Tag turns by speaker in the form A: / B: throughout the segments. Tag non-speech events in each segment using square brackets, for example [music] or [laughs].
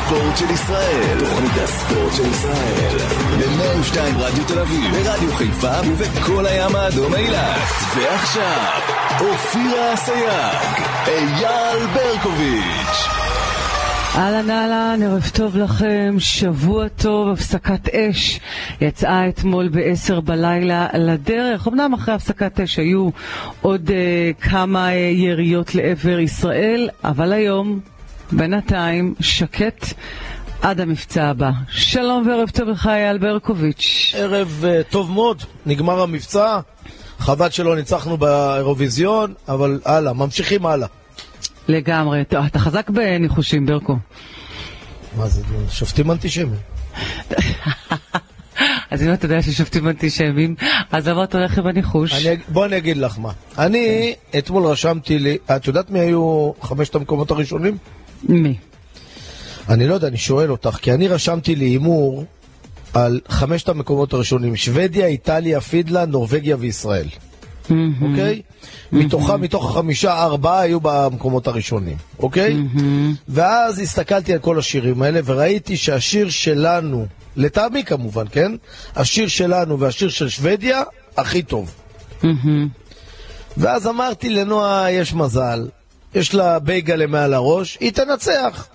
A: הספורט של ישראל. תוכנית הספורט של ישראל. ב-102 רדיו תל אביב, ברדיו חיפה ובכל הים האדום אילת. ועכשיו, אופירה אסייג, אייל ברקוביץ'.
B: אהלן אהלן, ערב טוב לכם, שבוע טוב, הפסקת אש יצאה אתמול ב-10 בלילה לדרך. אמנם אחרי הפסקת אש היו עוד אה, כמה אה, יריות לעבר ישראל, אבל היום, בינתיים, שקט עד המבצע הבא. שלום וערב טוב לך, אייל ברקוביץ'.
C: ערב אה, טוב מאוד, נגמר המבצע, חבל שלא ניצחנו באירוויזיון, אבל הלאה, ממשיכים הלאה.
B: לגמרי. טוב, אתה חזק בניחושים, ברקו.
C: מה זה, שופטים אנטישמים.
B: אז אם אתה יודע ששופטים אנטישמים, אז למה אתה הולך עם הניחוש?
C: אני, אג- בוא אני אגיד לך מה. אני אתמול רשמתי לי, את יודעת מי היו חמשת המקומות הראשונים?
B: מי?
C: אני לא יודע, אני שואל אותך, כי אני רשמתי לי הימור על חמשת המקומות הראשונים, שוודיה, איטליה, פינלנד, נורבגיה וישראל, אוקיי? מתוכם, מתוך החמישה, ארבעה היו במקומות הראשונים, אוקיי? ואז הסתכלתי על כל השירים האלה, וראיתי שהשיר שלנו, לטעמי כמובן, כן? השיר שלנו והשיר של שוודיה, הכי טוב.
B: מהמם.
C: ואז אמרתי לנועה, יש מזל, יש לה בייגלה מעל הראש, היא תנצח.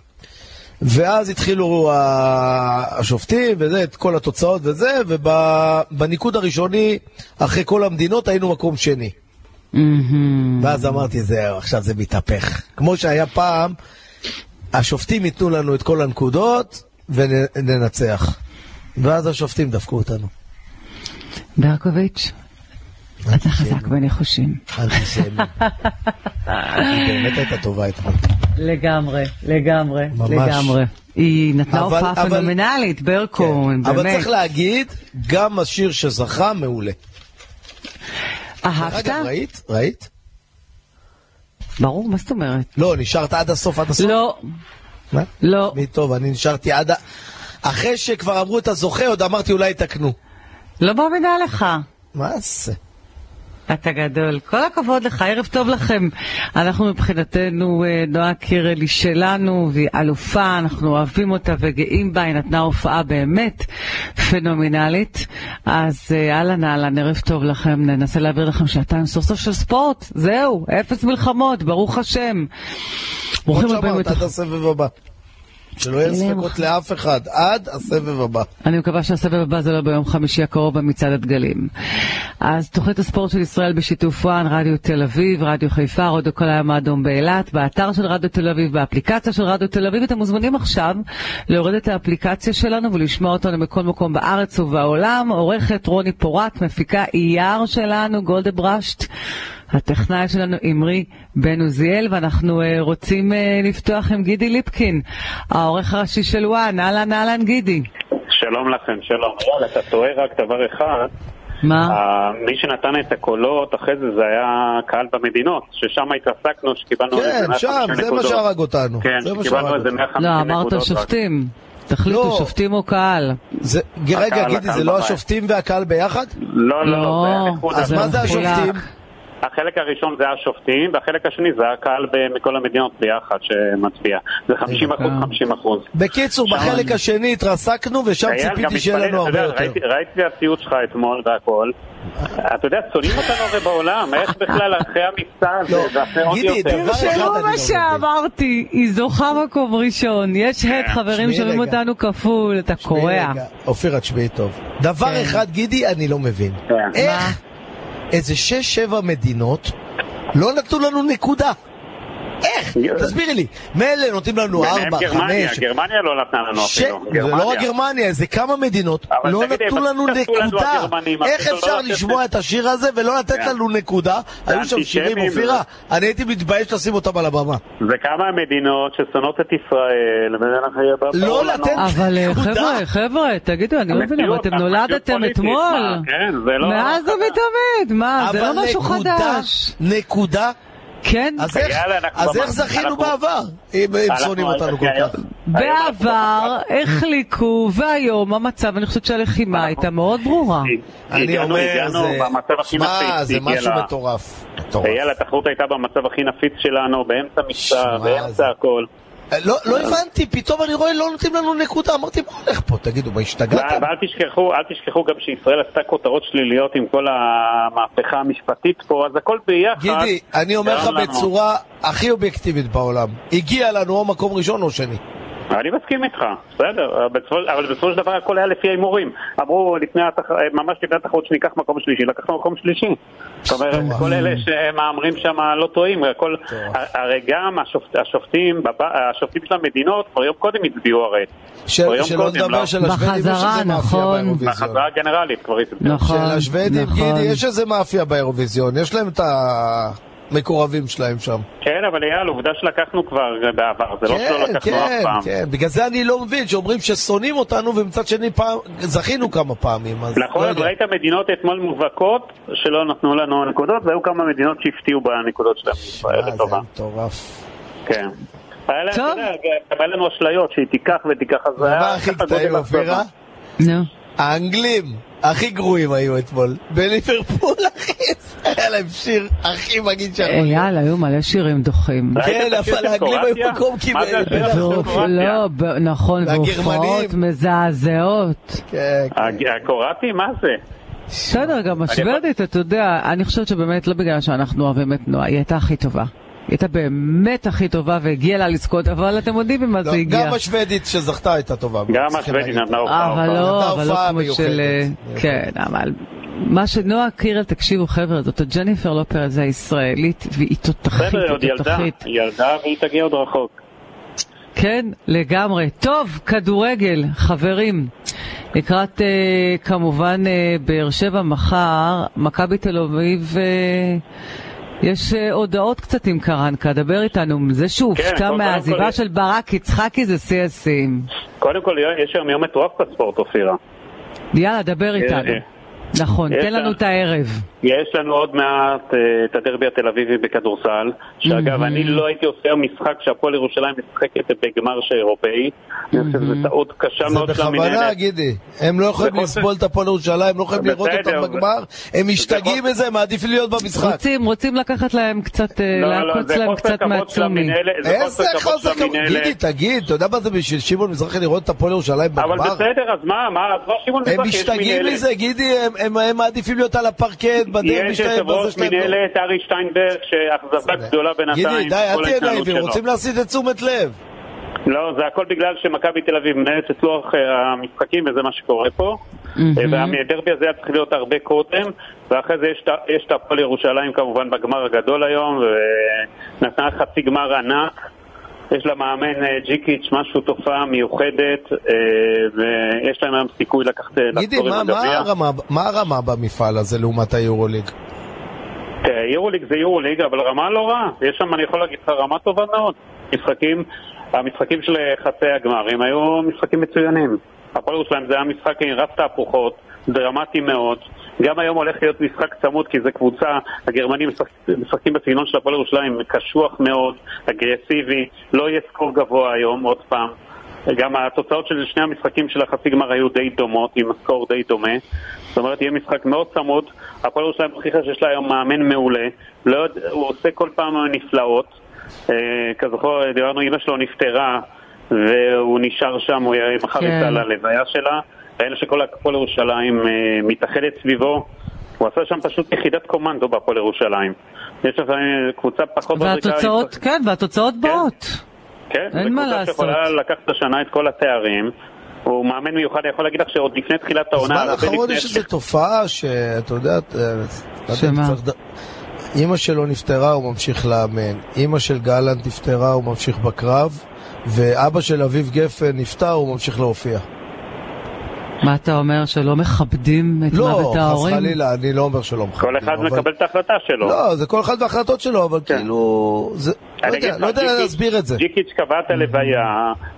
C: ואז התחילו ה- השופטים וזה, את כל התוצאות וזה, ובניקוד הראשוני, אחרי כל המדינות, היינו מקום שני.
B: מהמם.
C: ואז אמרתי, זהו, עכשיו זה מתהפך. כמו שהיה פעם, השופטים ייתנו לנו את כל הנקודות וננצח. ואז השופטים דפקו אותנו.
B: ברקוביץ', אתה חזק בניחושים.
C: אנטישמים. היא באמת הייתה טובה אתמול.
B: לגמרי, לגמרי,
C: ממש.
B: לגמרי. היא נתנה
C: אבל-
B: הופעה
C: אבל-
B: פנומנלית, ברקו,
C: כן. אבל
B: באמת.
C: צריך להגיד, גם השיר שזכה מעולה.
B: אהבת?
C: אגב, ראית? ראית?
B: ברור, מה זאת אומרת?
C: לא, נשארת עד הסוף, עד הסוף.
B: לא,
C: מה?
B: לא.
C: מי טוב, אני נשארתי עד ה... אחרי שכבר אמרו את הזוכה, עוד אמרתי אולי יתקנו.
B: לא מאמינה לך.
C: מה זה?
B: אתה גדול. כל הכבוד לך, ערב טוב לכם. אנחנו מבחינתנו, אה, נועה קירל היא שלנו, והיא אלופה, אנחנו אוהבים אותה וגאים בה, היא נתנה הופעה באמת פנומנלית. אז אה, אהלן אהלן, ערב טוב לכם, ננסה להעביר לכם שעתיים סוף סוף של ספורט. זהו, אפס מלחמות, ברוך השם.
C: כמו
B: ברוכים הבאים.
C: שאמרת,
B: לתוכ-
C: עד הסבב הבא. שלא יהיה
B: אליהם.
C: ספקות לאף אחד, עד הסבב הבא.
B: אני מקווה שהסבב הבא זה לא ביום חמישי הקרוב במצעד הדגלים. אז תוכנית הספורט של ישראל בשיתוף וואן, רדיו תל אביב, רדיו חיפה, רדיו כל הים האדום באילת, באתר של רדיו תל אביב, באפליקציה של רדיו תל אביב. אתם מוזמנים עכשיו להוריד את האפליקציה שלנו ולשמוע אותנו מכל מקום בארץ ובעולם. עורכת רוני פורט, מפיקה אייר שלנו, גולדה ברשט. הטכנאי שלנו אמרי בן עוזיאל, ואנחנו אה, רוצים אה, לפתוח עם גידי ליפקין, העורך הראשי של וואן. אהלן אהלן גידי.
D: שלום לכם, שלום. לא, אבל אתה טועה רק דבר אחד,
B: מה?
D: אה, מי שנתן את הקולות אחרי זה זה היה קהל במדינות, ששם התעסקנו, שקיבלנו איזה
C: כן,
D: 150
C: שם, זה מה
D: נקודות.
C: שהרג אותנו.
D: כן,
C: זה מה שהרג
D: קיבלנו איזה
C: אותנו.
D: 150
B: לא,
D: נקודות.
B: אמרת
D: רק.
B: שופטים. תחליטו,
C: לא.
B: שופטים או קהל.
C: זה- רגע,
D: הקהל,
C: גידי, זה
D: הקהל
C: לא
D: בבית.
C: השופטים והקהל ביחד?
D: לא, לא,
B: לא,
D: זה היה איחוד.
C: אז
B: אז
C: מה זה
B: מחולק.
C: השופטים?
D: החלק הראשון זה השופטים, והחלק השני זה הקהל ב- מכל המדינות ביחד שמצביע. זה 50 אחוז,
B: אה.
D: 50 אחוז.
C: בקיצור,
D: שם
C: בחלק
D: אני-
C: השני התרסקנו, ושם ציפיתי שיהיה לנו הרבה יותר.
D: ראיתי את הציוץ שלך אתמול והכל. אתה יודע, שונאים אותנו הרי בעולם, איך בכלל אחרי המבצע הזה,
C: לא,
D: ואחרי עוד
C: גידי,
D: יותר.
C: דבר אחד
B: תראו
C: אני לא
B: מה
C: מבין.
B: שאמרתי, היא זוכה מקום ראשון. יש הד, חברים,
C: שמעי
B: שומעים
C: אה, רגע.
B: אותנו כפול, אתה קורע.
C: רגע, אופיר, את תשמעי טוב. דבר אחד, גידי, אני לא מבין.
D: כן.
B: כן. מה?
C: איך איזה שש-שבע מדינות לא נתנו לנו נקודה? איך? תסבירי לי. מילא נותנים לנו
D: ביניהם
C: ארבע,
D: כן, גרמניה,
C: חמש,
D: גרמניה לא נתנה לנו
C: ש...
D: אפילו.
C: זה לא רק גרמניה, זה כמה מדינות
D: אבל
C: לא
D: תגידי,
C: נתנו
D: אבל
C: לנו
D: קפצו לנו
C: נקודה.
D: הגרמנים,
C: איך
D: אפילו לא
C: אפשר
D: לתת-
C: לשמוע את השיר הזה ולא לתת
D: כן.
C: לנו נקודה? היו שם שירים,
D: אנטישמים.
C: אופירה, אני הייתי מתבייש לשים אותם על הבמה.
D: זה כמה מדינות ששונאות את ישראל, ואנחנו... לנו-
C: לא לתת-
B: אבל אה,
C: נקודה.
B: חבר'ה, חבר'ה, תגידו, אני לא
D: המציאות,
B: מבינה, אבל אתם
D: המציאות
B: נולדתם
D: פוליטית,
B: אתמול.
D: מה, כן, זה לא...
B: מאז ומתמיד, מה? זה
C: אבל
B: לא משהו
C: נקודה,
B: חדש.
C: נקודה.
B: כן?
C: אז איך-
D: יאללה, אנחנו
C: אז איך
D: ממש-
C: זכינו
D: אנחנו-
C: בעבר? אם אם
D: אנחנו- כן,
C: שונאים אותנו כל
D: היום-
C: כך.
D: היום אנחנו-
B: בעבר החליקו, והיום המצב, אני חושבת
D: נכון.
B: שהלחימה הייתה מאוד ברורה.
C: אני
D: הגענו-
C: אומר,
D: הגענו
C: זה-
D: במצב הכי
C: שמע,
D: נפיץ,
C: זה
D: הגיע
C: משהו
D: לה-
C: מטורף. מטורף.
D: אייל, התחרות הייתה במצב הכי נפיץ שלנו, באמצע מבצע,
C: שמע, זה-
D: באמצע הכל.
C: לא לא הבנתי, פתאום אני רואה לא נותנים לנו נקודה, אמרתי מה הולך פה, תגידו, מה השתגעתם?
D: ואל תשכחו, אל תשכחו גם שישראל עשתה כותרות שליליות עם כל המהפכה המשפטית פה, אז הכל ביחד.
C: גידי, אני אומר לך
D: גרם לנו.
C: בצורה הכי אובייקטיבית בעולם, הגיע לנו או מקום ראשון או שני.
D: אני מסכים איתך, בסדר, בסופו- אבל בסופו של דבר הכל היה לפי ההימורים. אמרו לפני התח... ממש לפני התחרות שניקח מקום שלישי, לקחנו מקום שלישי. זאת אומרת,
C: מטורף.
D: כל אלה שמהמרים שם לא טועים, הכל... הרי גם השופט, השופטים, בב... השופטים של המדינות כבר יום קודם הצביעו הרי.
C: של-
D: כבר יום
C: שלא
D: קודם,
C: לדבר
D: לא?
C: של השוודים, יש
B: בחזרה,
C: איזה מאפייה
B: נכון.
C: באירוויזיון.
D: בחזרה הגנרלית כבר הצביעו.
B: נכון,
C: של השוודים,
B: נכון.
C: גידי, יש איזה מאפיה באירוויזיון, יש להם את המקורבים שלהם שם.
D: כן, אבל אייל, עובדה שלקחנו כבר בעבר, זה לא שלא
C: כן,
D: לקחנו אף
C: כן,
D: פעם.
C: כן, בגלל זה אני לא מבין, שאומרים ששונאים אותנו ומצד שני פעם, זכינו כמה פעמים, אז
D: נכון,
C: לא
D: אבל
C: יודע.
D: ראית מדינות אתמול מובהקות שלא נתנו לנו נקודות, והיו כמה מדינות שהפתיעו בנקודות שלהם
C: אה,
D: ישראל
C: זה
D: לטובה.
C: מטורף.
D: כן. היה להם,
B: טוב.
D: אתה יודע, גם היה לנו אשליות שהיא תיקח ותיקח, אז זה
C: הדבר הכי
D: ככה גודל
C: קטעים,
D: אכזבה.
C: אופירה,
B: נו.
C: האנגלים הכי גרועים היו אתמול. בליברפול, אחי, היה להם שיר הכי מגעיל שלנו.
B: אייל, אה, היו מלא שירים דוחים.
D: אה? ראית
C: כן,
D: את השיר
C: אבל
D: של
C: האנגלים היו
D: קרואטיה?
C: מקום
D: מה זה
C: כמעט.
D: השיר של
B: והופ-
D: קרואטיה?
B: לא, ב- נכון,
C: והגרמנים.
B: והופעות מזעזעות.
C: כן, כן.
D: הג- הקרואטי? מה זה?
B: בסדר, גם השוודית, אתה יודע, אני חושבת שבאמת לא בגלל שאנחנו אוהבים את נועה, היא הייתה הכי טובה. היא הייתה באמת הכי טובה והגיעה לה לזכות, אבל אתם יודעים ממה
C: לא,
B: זה הגיע.
C: גם השוודית שזכתה הייתה טובה.
D: גם
C: צריכים
D: השוודית
C: להגיד.
D: נתנה הופעה.
B: אבל
D: הופעה.
B: לא,
C: הייתה
B: אבל לא
C: הופעה
B: כמו
C: מיוחדת.
B: של... כן, אבל... מה שנועה קירל, תקשיבו חבר'ה, זאת הג'ניפר לופר הזה הישראלית, והיא תותחית,
D: בסדר, היא עוד
B: היא
D: ילדה.
B: תותחית.
D: היא ילדה והיא תגיע עוד רחוק.
B: כן, לגמרי. טוב, כדורגל, חברים. לקראת אה, כמובן אה, באר שבע מחר, מכבי תל אביב, אה, יש אה, הודעות קצת עם קרנקה, דבר איתנו. זה שהוא
D: כן,
B: הופתע
D: קודם- קודם
B: מהעזיבה
D: כל-
B: של ברק יצחקי זה שיא השיאים.
D: קודם כל, יש היום יום מטורף בספורט, אופירה.
B: יאללה, דבר איתנו.
D: אה.
B: נכון,
D: יש
B: תן לנו
D: לנו-
B: את הערב.
D: יש לנו עוד מעט אה, את הדרבי התל אביבי בכדורסל, שאגב, אני לא הייתי עושה היום משחק שהפועל ירושלים משחקת בגמר שאירופאי. אני חושב שזו טעות קשה
C: זה
D: מאוד של
C: בכוונה,
D: המנהלת.
C: גידי. הם לא יכולים
D: זה חוסר-
C: לסבול את הפועל ירושלים, לא יכולים לראות
D: בסדר,
C: אותם
D: אבל-
C: בגמר, הם משתגעים
D: חוסר-
C: מזה, הם מעדיף להיות במשחק.
B: רוצים, רוצים לקחת להם קצת, אה,
D: לא, לא,
B: לעקוץ
D: זה
B: להם
D: חוסר
B: קצת
D: כבוד של
B: מהצומי.
D: המנהלת. זה
C: איזה חוסר
D: של
C: כבוד, גידי,
D: המנהלת.
C: תגיד, אתה יודע מה זה בשביל שמעון מזרחי לראות את הפועל ירושלים
D: אבל
C: בגמר?
D: בסדר, אז מה, מה, אז לא שמעון
C: הם
D: מזרחי, יש
C: משתגעים
D: מנהלת.
C: מזה, גידי, הם- הם- הם מעדיפים להיות על הפרקט, בדרך
D: יש
C: משתגעים בזה
D: יושב-ראש
C: שלהם. לא.
D: מנהלת, ארי שטיינברג, שאכזבה גדולה בינתיים.
C: גידי, די, אל
D: כל
C: תהיה
D: ההתנהלות
C: נאיבי,
D: שלו.
C: רוצים להסיט את תשומת לב.
D: לא, זה הכל בגלל שמכבי תל אביב מנהלת את לוח אה, המשחקים וזה מה שקורה פה. אה, והדרבי הזה היה צריך להיות הרבה קודם, ואחרי זה יש את ה- יש את הפועל ירושלים כמובן בגמר הגדול היום, ונתנה חצי גמר ענק. יש לה מאמן אה, ג'יקיץ', משהו תופעה מיוחדת, אה, ויש להם היום סיכוי לקחת, אה,
C: גידי,
D: לחזור
C: מה-
D: עם
C: מה
D: הגביע.
C: הרמה- מה הרמה במפעל הזה לעומת היורוליג?
D: תראה, יורוליג אה, זה יורוליג, אבל רמה לא רעה. יש שם, אני יכול להגיד לך, רמה טובה מאוד. משחקים, המשחקים של חצי הגמרים היו משחקים מצוינים. הפועל ירושלים זה היה משחק עם רב תהפוכות, דרמטי מאוד. גם היום הולך להיות משחק צמוד, כי זו קבוצה, הגרמנים משחק- משחקים בסגנון של הפועל ירושלים, קשוח מאוד, אגרסיבי, לא יהיה סקור גבוה היום, עוד פעם. גם התוצאות של שני המשחקים של החצי גמר היו די דומות, עם סקור די דומה. זאת אומרת, יהיה משחק מאוד צמוד. הפועל ירושלים הוכיחה שיש לה היום מאמן מעולה. לא, יודע- הוא עושה כל פעם נפלאות. אה, כזכור, דיברנו, אימא שלו נפטרה, והוא נשאר שם, הוא יהיה- מחר
B: כן.
D: יצא ללוויה שלה. ראינו שכל הפועל ירושלים אה, מתאחדת סביבו. הוא עשה שם פשוט יחידת קומנדו בהפועל ירושלים. יש לפעמים קבוצה פחות... מדרגה-
B: והתוצאות, כן, והתוצאות באות.
D: כן,
B: אין
D: זו
B: מה
D: קבוצה
B: לעשות.
D: שיכולה לקחת השנה את כל התארים. הוא מאמן מיוחד, אני יכול להגיד לך שעוד לפני תחילת העונה,
C: בזמן
D: הרבה
C: האחרון
D: לפני
C: יש
D: ש-
C: איזו תופעה שאתה יודע, את- לא יודע אם
B: שמה?
C: צריך ד- אימא שלו נפטרה, הוא ממשיך לאמן. אימא של גלנט נפטרה, הוא ממשיך בקרב. ואבא של אביב גפן נפטר, הוא ממשיך להופיע.
B: מה אתה אומר, שלא מכבדים את
C: לא,
B: מוות
C: חס
B: ההורים?
C: חלילה, אני לא אומר שלא מכבדים.
D: כל אחד
C: אבל-
D: מקבל את ההחלטה שלו.
C: לא, זה כל אחד וההחלטות שלו, אבל
D: כן.
C: כאילו... זה- לא
D: אני אגיד
C: יודע,
D: לך,
C: לא יודע
D: ג'יקיץ'-
C: להסביר את זה.
D: ג'יקיץ' קבע את הלוויה,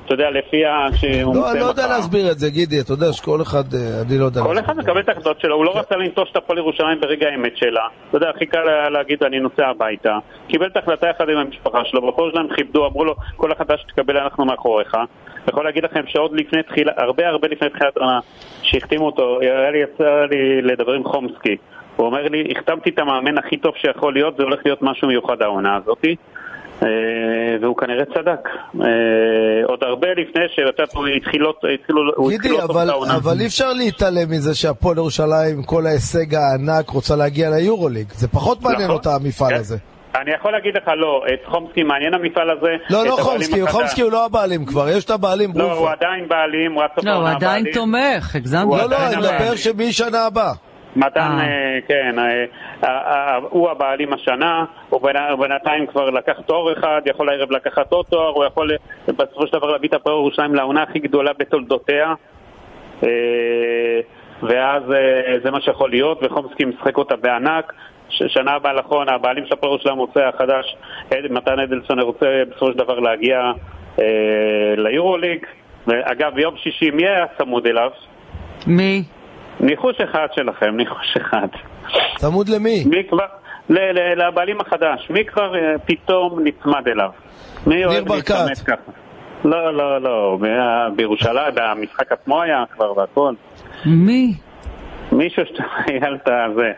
D: אתה יודע, לפי ה... שהוא
C: לא,
D: מסיים
C: אני לא יודע
D: אותה.
C: להסביר את זה, גידי, אתה יודע שכל אחד, אה, אני לא יודע...
D: כל
C: להסביר
D: אחד
C: את זה.
D: מקבל את ההחלטות שלו, הוא לא רצה לנטוש את הפועל ירושלים ברגע האמת שלה. אתה יודע, הכי קל היה להגיד, אני נוסע הביתה. קיבל את ההחלטה יחד עם המשפחה שלו, בכל שלהם כיבדו, אמרו לו, כל החלטה שתקבל אנחנו מאחוריך. אני יכול להגיד לכם שעוד לפני תחילה, הרבה הרבה לפני תחילת העונה, שהחתימו אותו, היה לי, יצא לי לדבר עם חומסקי. הוא אומר לי, החתמתי את המאמן הכי טוב שיכול להיות, זה הולך להיות משהו מיוחד העונה הזאתי. אה, והוא כנראה צדק. אה, עוד הרבה לפני שלטאפו התחילו... לא- התחילו- לא
C: גידי,
D: התחילו
C: אבל,
D: את העונה.
C: אבל אי אפשר להתעלם מזה שהפועל ירושלים, עם כל ההישג הענק, רוצה להגיע ליורוליג. זה פחות מעניין
D: נכון.
C: אותה המפעל
D: כן.
C: הזה.
D: אני יכול להגיד לך, לא, את חומסקי מעניין המפעל הזה.
C: לא,
D: את
C: לא
D: הבעלים
C: חומסקי,
D: החדש.
C: חומסקי הוא לא הבעלים כבר, יש את הבעלים
D: לא, הוא
C: ברופא.
D: עדיין בעלים, הוא עד סוף
B: לא, הוא
D: [laughs] העונה
B: עדיין
D: בעלים.
B: תומך, הגזמת.
D: הוא
C: לא, לא, אני
D: עדיין
C: מדבר
D: הבעלים.
C: שמשנה הבאה.
D: מתן,
B: אה.
D: אה, כן, אה, אה, אה, הוא הבעלים השנה, הוא בין- הוא בינתיים כבר לקח תואר אחד, יכול הערב לקחת עוד תואר, הוא יכול אה, בסופו של דבר להביא את הפועל ירושלים לעונה הכי גדולה בתולדותיה, אה, ואז אה, זה מה שיכול להיות, וחומסקי משחק אותה בענק. ש- שנה הבאה נכון, הבעלים של הפועל ירושלים רוצה החדש, עד- מתן אדלסון רוצה בסופו של דבר להגיע אה, ליורוליג. ואגב, ביום שישי מי היה צמוד אליו?
B: מי?
D: ניחוש אחד שלכם, ניחוש אחד.
C: צמוד למי?
D: מי כבר, ל- ל- לבעלים החדש, מי כבר אה, פתאום נצמד אליו? מי אוהב
C: ברקת.
D: להתעמת ככה? לא, לא, לא, ב- בירושלים, במשחק עצמו היה כבר והכל.
B: מי?
D: מישהו שאתה [laughs] היה את הזה.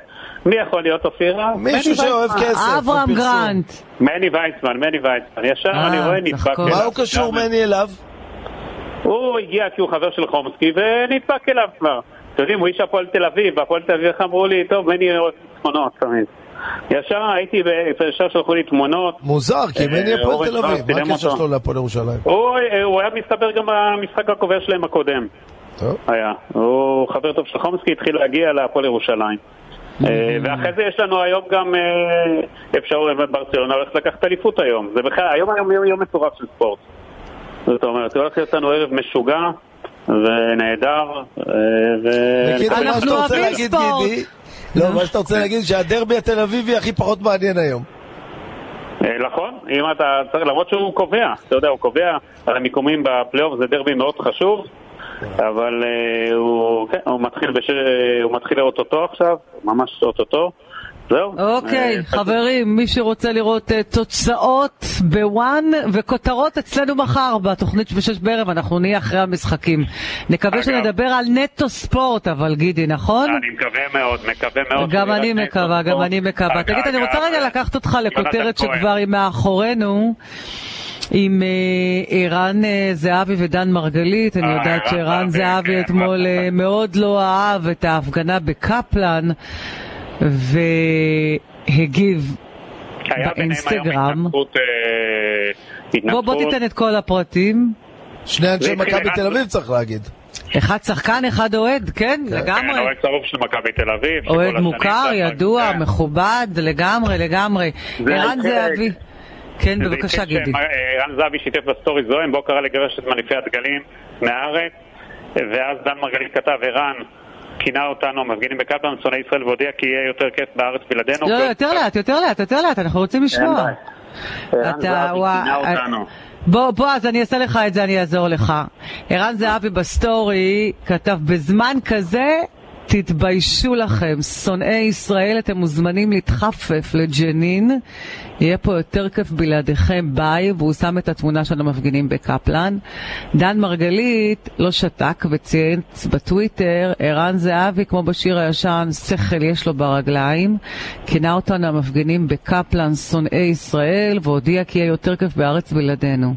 D: מי יכול להיות אופירה?
C: מישהו שאוהב כסף. זה
B: אה, אברהם
C: פרסום.
B: גרנט.
D: מני וייצמן, מני וייצמן. ישר
B: אה,
D: אני רואה
B: צריך
D: נדבק
B: כל-
D: אליו.
C: מה הוא קשור
D: למה?
C: מני אליו?
D: הוא הגיע כי הוא חבר של חומסקי ונדבק אליו כבר. אתם יודעים, הוא איש הפועל תל אביב, והפועל תל אביב איך אמרו לי, טוב, מני אוהב תמונות תמיד. ישר הייתי, ב- ישר שלחו לי תמונות.
C: מוזר, כי
D: אה,
C: מני הפועל
D: אורן
C: תל אביב,
D: פרץ
C: מה
D: צילם
C: הקשר
D: אותו.
C: שלו להפועל ירושלים?
D: הוא, אה, הוא היה מסתבר גם במשחק הקובע שלהם הקודם,
C: טוב.
D: היה. הוא חבר טוב של חומסקי, התחיל להגיע להפועל ירושלים. אה, ואחרי זה יש לנו היום גם אה, אפשרות, ברצלונה הולכת לקחת אליפות היום. זה בכלל, היום היום יום, יום מטורף של ספורט. זאת אומרת, הולך להיות לנו ערב משוגע ונהדר, אה, ו...
C: בקיצור, אה, מה
B: אנחנו
C: שאתה רוצה
B: אוהבים
C: להגיד,
B: ספורט.
C: גידי, לא, מה שאתה רוצה להגיד שהדרבי התל אביבי הכי פחות מעניין היום.
D: אה, נכון, אם אתה צריך, למרות שהוא קובע, אתה יודע, הוא קובע על המיקומים בפלייאוף, זה דרבי מאוד חשוב, אבל אה, הוא, כן, הוא מתחיל בש... אה, הוא מתחיל אוטוטו עכשיו, ממש אוטוטו, זהו.
B: אוקיי,
D: אה,
B: חברים, מי שרוצה לראות אה, תוצאות בוואן וכותרות אצלנו מחר בתוכנית בשש בערב, אנחנו נהיה אחרי המשחקים. נקווה
D: אגב. אה,
B: שנדבר על נטו ספורט, אבל גידי, נכון?
D: אני מקווה מאוד, מקווה מאוד.
B: גם
D: שהוא
B: אני
D: יראה
B: מקווה,
D: אוטוטו.
B: גם אני מקווה.
D: אגב,
B: תגיד, אני רוצה
D: אגב,
B: רגע לקחת אותך
D: יונתן
B: לכותרת
D: כהן.
B: שכבר היא מאחורינו, עם אה, ערן אה, זהבי ודן מרגלית. אני
D: אה,
B: יודעת
D: ערן
B: שערן
D: זהבי,
B: זהבי
D: כן,
B: אתמול
D: ערן
B: אה,
D: זהבי.
B: מאוד לא אהב את ההפגנה בקפלן, והגיב.
D: היה ביניהם היום
B: באינסטגרם.
D: התנתקות, אה,
B: בוא בוא
D: התנתקות.
B: תיתן את כל הפרטים.
C: שני אנשי
D: והתחיל
C: מכבי
D: אחד-
C: תל אביב צריך להגיד.
B: אחד שחקן, אחד אוהד, כן,
D: כן,
B: לגמרי.
D: אוהד צרוף של מכבי תל אביב. שכל
B: אוהד
D: השנים
B: מוכר,
D: זה-
B: ידוע,
D: כן.
B: מכובד, לגמרי, לגמרי.
D: זה
B: ערן
D: התחיל-
B: זהבי. כן,
D: זה
B: בבקשה,
D: התחיל
B: גידי.
D: שמ- אה, רן זהבי שיתף בסטורי זוהם, בו קרא לגרש את מניפי הדגלים מהארץ, ואז דן מרגלית כתב, ערן כינה אותנו, המפגינים בקפלן, שונאי ישראל, והודיע כי יהיה יותר כיף בארץ בלעדינו.
B: לא, יותר לאט, יותר לאט, יותר לאט, אנחנו רוצים לשמוע.
D: ערן
B: אתה,
D: זהבי
B: וואי,
D: כינה אותנו.
B: בוא, בוא, אז אני אעשה לך את זה, אני אעזור לך. ערן זהבי בסטורי כתב, בזמן כזה, תתביישו לכם, שונאי ישראל, אתם מוזמנים להתחפף לג'נין, יהיה פה יותר כיף בלעדיכם, ביי, והוא שם את התמונה של המפגינים בקפלן. דן מרגלית לא שתק וצייץ בטוויטר, ערן זהבי, כמו בשיר הישן, שכל יש לו ברגליים, כינה אותנו המפגינים בקפלן שונאי ישראל, והודיע כי יהיה יותר כיף בארץ בלעדינו.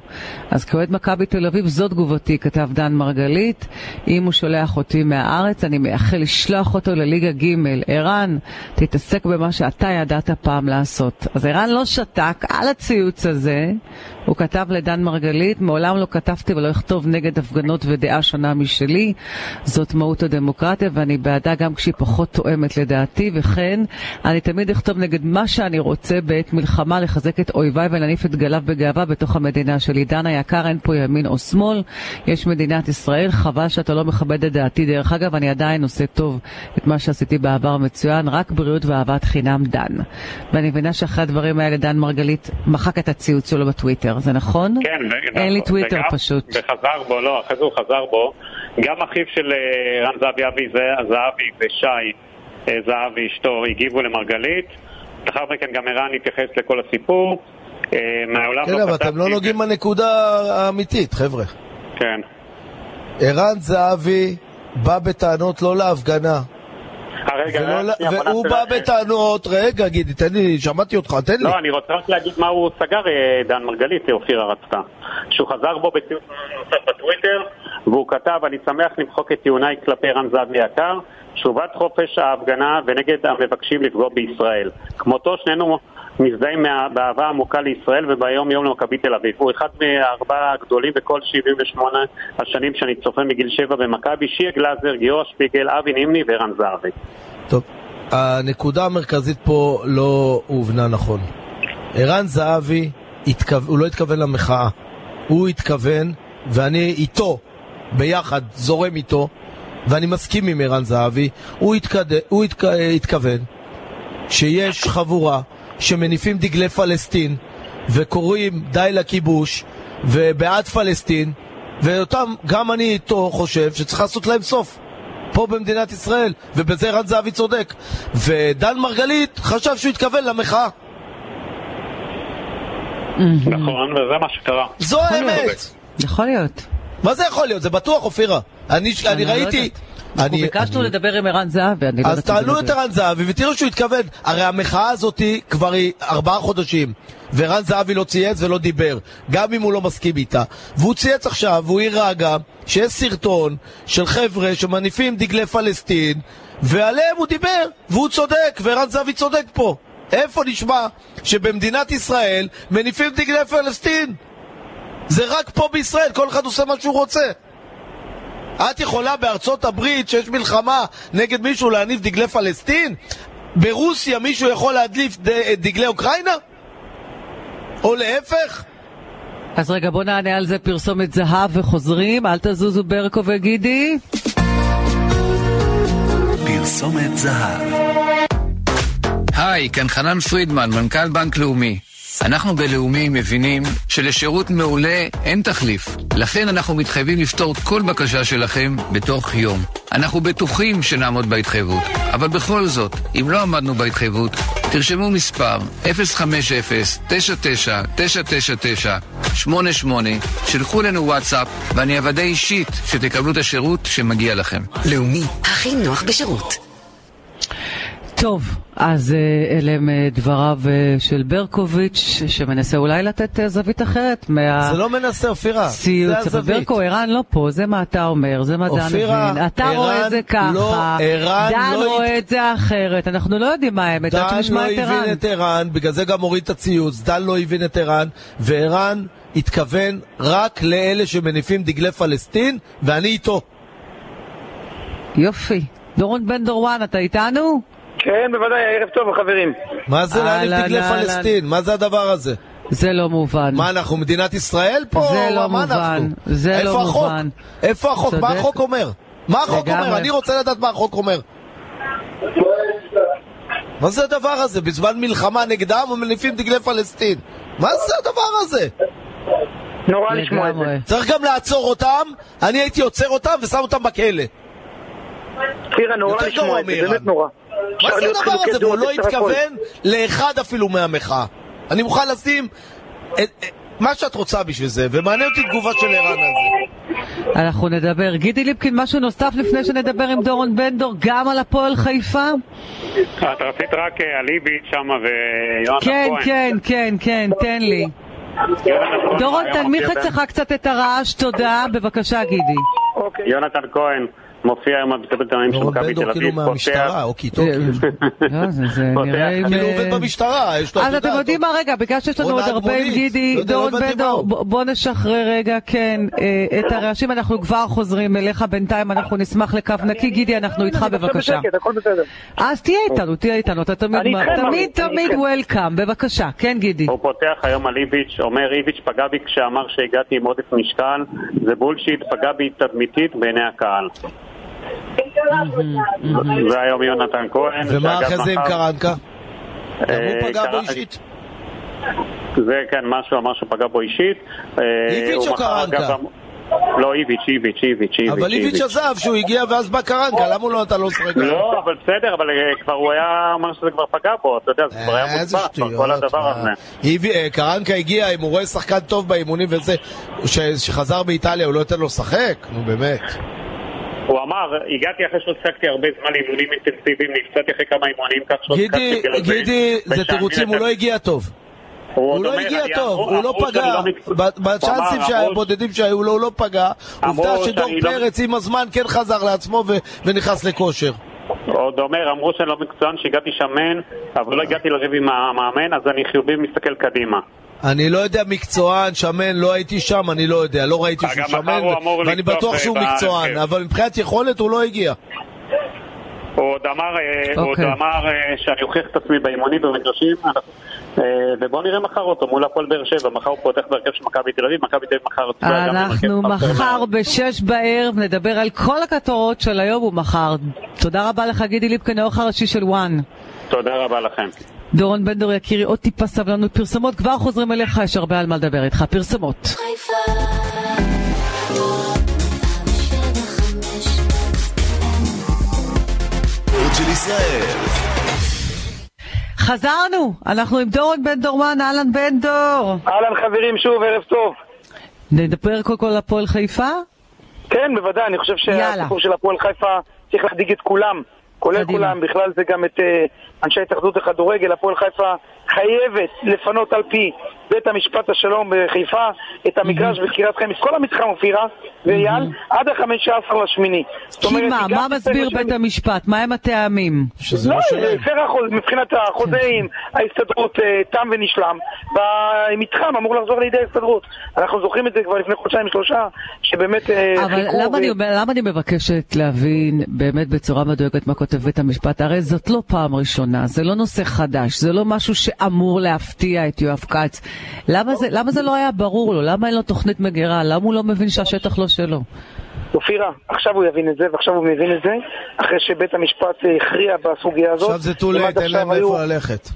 B: אז כאוהד מכבי תל אביב, זו תגובתי, כתב דן מרגלית. אם הוא שולח אותי מהארץ, אני מייחל לשלוח אותו לליגה ג'. ערן, תתעסק במה שאתה ידעת פעם לעשות. אז ערן לא שתק על הציוץ הזה, הוא כתב לדן מרגלית, מעולם לא כתבתי ולא אכתוב נגד הפגנות ודעה שונה משלי. זאת מהות הדמוקרטיה ואני בעדה גם כשהיא פחות תואמת לדעתי, וכן, אני תמיד אכתוב נגד מה שאני רוצה בעת מלחמה לחזק את אויביי ולהניף את גליו בגאווה בתוך המדינה שלי. דן היקר, אין פה ימין או שמאל, יש מדינת ישראל, חבל שאתה לא מכבד את דעתי. דרך אגב, אני עדיין עושה טוב את מה שעשיתי בעבר מצוין, רק בריאות ואהבת חינם דן. ואני מבינה שאחרי הדברים האלה דן מרגלית מחק את הציוץ שלו בטוויטר, זה נכון?
D: כן, ו-
B: אין לי טוויטר
D: וגם-
B: פשוט.
D: וחזר בו, לא, אחרי זה הוא חזר בו. גם אחיו של אה, רן זהבי, אבי זה- זהבי ושי אה, זהבי, אשתו, הגיבו למרגלית. לאחר מכן גם ערן התייחס לכל הסיפור. אה, מהעולם
C: כן, אבל אתם לא
D: כתבתי-
C: נוגעים בנקודה האמיתית, חבר'ה.
D: כן.
C: ערן זהבי בא בטענות לא להפגנה.
D: רגע,
C: ולא
D: רק שנייה,
C: ל-
D: בוא
C: והוא
D: נעשה
C: בא
D: לה-
C: בטענות, רגע, גידי, תן לי, שמעתי אותך, תן לי.
D: לא, אני רוצה רק להגיד מה הוא סגר, אה, דן מרגלית, אה, אופירה רצתה. שהוא חזר בו בציון נוסף בטוויטר, והוא כתב, אני שמח למחוק את טיעוניי כלפי רן זהבי היקר, שובת חופש ההפגנה ונגד המבקשים לפגוע בישראל. כמותו שנינו מזדהים מה- באהבה העמוקה לישראל וביום יום למכבי תל אביב. הוא אחד מהארבעה הגדולים בכל 78 השנים שאני צופה מגיל שבע במכבי, שיה גלאזר, גיורא שפיגל, אבי נימני ורן זהבי.
C: טוב, הנקודה המרכזית פה לא הובנה נכון. ערן זהבי, התכו... הוא לא התכוון למחאה. הוא התכוון, ואני איתו, ביחד, זורם איתו, ואני מסכים עם ערן זהבי, הוא, התקד... הוא התק... התכוון שיש חבורה שמניפים דגלי פלסטין וקוראים די לכיבוש ובעד פלסטין ואותם גם אני איתו חושב שצריך לעשות להם סוף פה במדינת ישראל ובזה רן זהבי צודק ודן מרגלית חשב שהוא התכוון למחאה
D: נכון, וזה מה שקרה.
C: זו
B: נכון,
C: האמת
B: יכול להיות.
C: מה זה יכול להיות? זה בטוח אופירה אני, אני
B: לא
C: ראיתי
B: יודעת. אנחנו
C: אני-
B: ביקשנו
C: אני-
B: לדבר עם ערן זהבי, אני לא
C: אז
B: יודעת... אם זה
C: תעלו את
B: מדויק.
C: ערן זהבי ותראו שהוא התכוון. הרי המחאה הזאת היא כבר היא ארבעה חודשים, וערן זהבי לא צייץ ולא דיבר, גם אם הוא לא מסכים איתה. והוא צייץ עכשיו, והוא הראה גם שיש סרטון של חבר'ה שמניפים דגלי פלסטין, ועליהם הוא דיבר, והוא צודק, וערן זהבי צודק פה. איפה נשמע שבמדינת ישראל מניפים דגלי פלסטין? זה רק פה בישראל, כל אחד עושה מה שהוא רוצה. את יכולה בארצות הברית, שיש מלחמה נגד מישהו, להניף דגלי פלסטין? ברוסיה מישהו יכול להדליף ד- דגלי אוקראינה? או להפך?
B: אז רגע, בוא נענה על זה פרסומת זהב וחוזרים, אל תזוזו ברקו וגידי.
A: פרסומת זהב.
E: היי, כאן חנן פרידמן, מנכ"ל בנק לאומי. אנחנו בלאומי מבינים שלשירות מעולה אין תחליף. לכן אנחנו מתחייבים לפתור כל בקשה שלכם בתוך יום. אנחנו בטוחים שנעמוד בהתחייבות, אבל בכל זאת, אם לא עמדנו בהתחייבות, תרשמו מספר 050-99-999-88, שלחו לנו וואטסאפ ואני אוודא אישית שתקבלו את השירות שמגיע לכם.
F: לאומי, הכי נוח בשירות.
B: טוב, אז אה, אלה הם אה, דבריו אה, של ברקוביץ', שמנסה אולי לתת אה, זווית אחרת מה...
C: זה לא מנסה, אופירה. זה
B: אה. ציוץ, אבל
C: הזווית.
B: ברקו, ערן לא פה, זה מה אתה אומר, זה מה דן
C: אופירה,
B: מבין. אתה
C: ערן
B: רואה את זה ככה,
C: לא- ערן
B: דן
C: לא
B: רואה
C: הת-
B: את זה אחרת, אנחנו לא יודעים מה האמת, עד
C: דן לא
B: שנשמע את ערן.
C: הבין את ערן, בגלל זה גם הוריד את הציוץ. דן לא הבין את ערן, וערן התכוון רק לאלה שמניפים דגלי פלסטין, ואני איתו.
B: יופי. דורון בן דורואן, אתה איתנו?
G: כן, בוודאי, ערב טוב, חברים.
C: מה
B: אה,
C: זה להניף
B: אהלן,
C: דגלי
B: אהלן.
C: פלסטין? מה זה הדבר הזה?
B: זה לא מובן.
C: מה אנחנו, מדינת ישראל פה?
B: זה
C: מה
B: לא מובן,
C: אנחנו?
B: זה
C: איפה
B: לא
C: החוק?
B: מובן.
C: איפה החוק? מה
B: צודק.
C: החוק אומר? מה החוק
B: לגמרי.
C: אומר? אני רוצה לדעת מה החוק אומר. מה זה הדבר הזה? בזמן מלחמה נגד העם ומניפים דגלי פלסטין. מה זה הדבר הזה?
G: נורא לשמוע את זה.
B: לגמרי.
C: צריך גם לעצור אותם, אני הייתי עוצר אותם ושם אותם בכלא.
G: פירה, נורא
C: יותר גרוע
G: לשמוע את זה,
C: מאירן.
G: באמת נורא.
C: מה
G: אפשר
C: זה
G: להיות
C: הדבר
G: חילוקי
C: הזה? והוא
G: דעות
C: לא
G: בסך הכל.
C: התכוון לאחד אפילו מהמחאה. אני מוכן לשים את- את- מה שאת רוצה בשביל זה, ומעניין אותי תגובה של ערן על זה.
B: אנחנו נדבר. גידי ליפקין, משהו נוסף לפני שנדבר עם דורון בן דור, גם על הפועל חיפה?
D: את רצית רק אה, על איביץ' שמה ויונתן
B: כן,
D: כהן.
B: כן, כן, כן, תן לי.
D: יונתן כהן
B: דורון,
D: היום
B: תנמיך
D: מופיע
B: אצלך קצת את הרעש, תודה. בבקשה, גידי.
G: אוקיי.
D: ב- יונתן כהן מופיע היום בבית העיתונאים של
C: דורון
D: מכבי
C: בן
D: תל
C: דור כאילו
D: אביב, פותח,
C: מהמשטרה, או קיטוקי.
B: לא, זה- זה
D: פותח.
B: נראה עם...
C: אוקיי. כאילו הוא
B: כן. אה,
C: עובד במשטרה, יש לו
B: אז אתם
C: עבודה.
B: יודעים מה, רגע, בגלל שיש לנו
C: או
B: עוד
C: נהג
B: הרבה עם
C: מונית. לא
B: גידי,
C: יודע, לא
B: דורון
C: הבנתי
B: בן דור,
C: מה הוא.
B: בוא בוא נשחרר רגע, כן, אה, את הרעשים, אנחנו כבר חוזרים אליך בינתיים, אנחנו נשמח לקו נקי. גידי, אנחנו איתך
G: אני עכשיו
B: בבקשה.
G: בשקט, הכל בסדר. אוקיי.
B: אז תהיה איתנו, תהיה איתנו, אתה תמיד,
G: אני איתכם,
B: תמיד,
G: אני-
B: תמיד
G: אני איתכם. אוקיי.
B: וולקאם, בבקשה, כן גידי.
D: הוא פותח היום על איביץ', אומר איביץ' פגע בי כשאמר שהגעתי עם עודף משקל, זה בולשיט, פגע בי תדמיתית בעיני הקהל. זה היום יונתן כהן.
C: ומה
D: שאגב,
C: אחרי זה עם
D: מחר-
C: קרנקה? גם הוא
D: אה,
C: פגע בו
D: קרא-
C: אישית.
D: זה כן, מה שהוא אמר שהוא פגע בו אישית. אה,
C: איביץ'
D: הוא
C: או
D: מחר
C: קרנקה?
D: גם- לא, איביץ', איביץ', איביץ', איביץ'.
C: אבל איביץ' עזב שהוא הגיע ואז בא קרנקה, למה הוא לא נתן לו לשחק?
D: לא, אבל בסדר, אבל אה, כבר הוא היה, אמר שזה כבר פגע בו, אתה יודע, זה כבר היה
C: אה, איזה
D: מוצבע,
C: שטויות.
D: כבר כל הדבר
C: מה.
D: הזה.
C: איבי- אה, קרנקה הגיע, אם הוא רואה שחקן טוב באימונים וזה, ש- שחזר מאיטליה, הוא לא ייתן לו לשחק? נו באמת.
D: הוא אמר, הגעתי אחרי שהפסקתי הרבה זמן לאימונים אינטנסיביים, נפצעתי אחרי כמה אימונים, כך
C: גידי,
D: שהפסקתי בגלל זה.
C: גידי, זה
D: ושאני
C: תירוצים, הוא
D: נתתי-
C: לא הגיע טוב. הוא
D: עוד
C: לא
D: אומר,
C: הגיע
D: אני-
C: טוב,
D: אמרו-
C: הוא לא
D: אמרו שאני
C: פגע.
D: מקצועי.
C: ב- בצ'אנסים
D: הוא אמר, אמרו-
C: שהבודדים שהיו לו, הוא לא פגע.
D: אמרו
C: עובדה שדור
D: שאני לא-
C: פרץ עם הזמן כן חזר לעצמו ו- ונכנס לכושר.
D: עוד אומר, אמרו שאני לא מקצוען, שהגעתי שמן, אבל לא הגעתי לריב עם המאמן, אז אני חיובי מסתכל קדימה.
C: אני לא יודע מקצוען, שמן, לא הייתי שם, אני לא יודע, לא ראיתי שהוא
D: גם מחר
C: שמן,
D: הוא אמור אה, כן.
C: ואני
D: לפתוח
C: בטוח שהוא
D: בהרכב.
C: מקצוען, אבל מבחינת יכולת הוא לא הגיע.
D: הוא עוד אמר, אה, הוא עוד
B: אוקיי.
D: אמר אה, שאני אוכיח את עצמי באימונים במגרשים, אה, ובואו נראה מחר אותו מול הפועל באר שבע, מחר הוא פותח בהרכב של מכבי תל אביב, מכבי תל אביב מחר... צפויה גם
B: אנחנו
D: בהרכב חסר
B: מחר
D: מאוד.
B: בשש בערב נדבר על כל הכתורות של היום ומחר. תודה רבה לך גידי ליפקין, העורך הראשי של וואן.
D: תודה רבה לכם.
B: דורון בן דור יקירי, עוד טיפה סבלנות פרסומות, כבר חוזרים אליך, יש הרבה על מה לדבר איתך. פרסומות.
A: הספורט של ישראל.
B: חזרנו, אנחנו עם דורון בן דורמן, אהלן בן דור.
G: אהלן חברים, שוב, ערב טוב.
B: נדבר קודם כל על הפועל חיפה?
G: כן, בוודאי, אני חושב
B: יאללה.
G: שהסיפור של הפועל חיפה צריך להדאיג את כולם, כולל
B: קדימה.
G: כולם, בכלל זה גם את אה, אנשי התאחדות לכדורגל, הפועל חיפה חייבת לפנות על פי בית המשפט השלום בחיפה את המגרש בקריית חיים, את כל המתחם אופירה ואייל, עד ה-15 לשמיני. זאת
B: כי
G: אומרת,
B: מה,
G: היא גם
B: מה מסביר
G: תצא
B: בית
G: לשם-
B: המשפט? מהם הטעמים?
C: שזה
G: לא,
C: לא
B: כן.
C: שלהם.
G: הפר החוזה, מבחינת החוזה עם ההסתדרות אה, תם ונשלם, והמתחם אמור לחזור לידי ההסתדרות. אנחנו זוכרים את זה כבר לפני חודשיים שלושה, שבאמת אה, חיכו...
B: אבל למה אני
G: ו-
B: אומר- למה אני מבקשת להבין באמת בצורה מדויקת מה כותב בית המשפט? הרי זאת לא פעם ראשונה, זה לא נושא חדש, זה לא משהו שאמור להפתיע את יואב כץ. למה זה- למה זה לא היה ברור לו? למה אין לו תוכנית מגירה? למה הוא לא מבין שהשטח לא שלו?
G: אופירה, עכשיו הוא יבין את זה, ועכשיו הוא מבין את זה, אחרי שבית המשפט אה, הכריע בסוגיה הזאת.
C: עכשיו זה too late,
G: כמעט
C: אין להם
G: עכשיו היו-
C: לאיפה ללכת.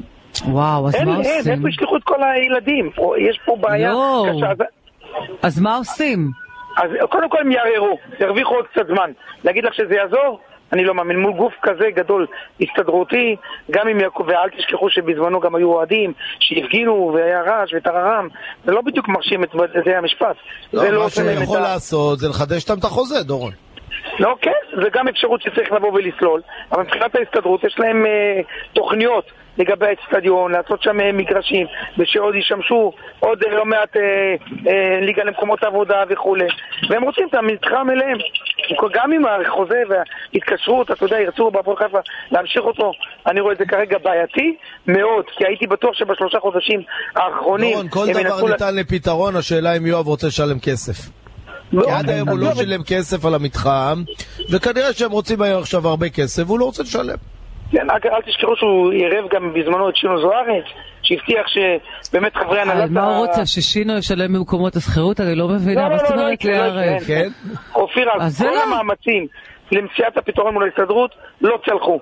B: וואו, אז
G: אין,
B: מה
G: אין,
B: עושים? לא.
G: איפה ישלחו את כל הילדים? פה- יש פה בעיה
B: יואו.
G: קשה. אז-
B: אז מה עושים?
G: אז קודם כל הם יערערו, ירוויחו עוד קצת זמן. להגיד לך שזה יעזור? אני לא מאמין. מול גוף כזה גדול, הסתדרותי, גם אם יעקב, ואל תשכחו שבזמנו גם היו אוהדים שהפגינו והיה רעש וטררם, זה לא בדיוק מרשים את בתי המשפט. זה
C: לא, מה
G: עושה להם
C: שהוא
G: את
C: יכול
G: ה-
C: לעשות זה לחדש איתם את החוזה, דורון.
G: לא, כן, זה גם אפשרות שצריך לבוא ולסלול, אבל מבחינת ההסתדרות יש להם אה, תוכניות לגבי האצטדיון, לעשות שם אה, מגרשים, ושעוד ישמשו עוד אה, לא מעט אה, אה, ליגה למקומות עבודה וכולי, והם רוצים את המתחם אליהם. גם עם החוזה וההתקשרות, אתה יודע, ירצו בהפועל חיפה להמשיך אותו, אני רואה את זה כרגע בעייתי מאוד, כי הייתי בטוח שבשלושה חודשים האחרונים
C: דורון, כל
G: הם
C: דבר
G: ינסו לה-
C: ניתן לפתרון, השאלה אם יואב רוצה לשלם כסף. כי עד היום הוא לא
G: עזוב,
C: שילם כסף על המתחם, וכנראה שהם רוצים היום עכשיו הרבה כסף, והוא לא רוצה לשלם.
G: כן, רק אל תשכחו שהוא עירב גם בזמנו את שינו זוארץ, שהבטיח שבאמת חברי הנהלת...
B: על אה, מה
G: ה-
B: הוא רוצה? ששינו ישלם במקומות השכירות? אני לא מבינה.
G: לא,
B: מה
G: לא,
B: זאת
G: לא, לא
B: אומרת
G: יקרה, לא
B: לערב?
G: יקרה.
C: כן?
G: אופירה,
B: אז זה
G: כל
B: לא.
G: המאמצים למציאת הפתרון מול ההסתדרות לא צלחו.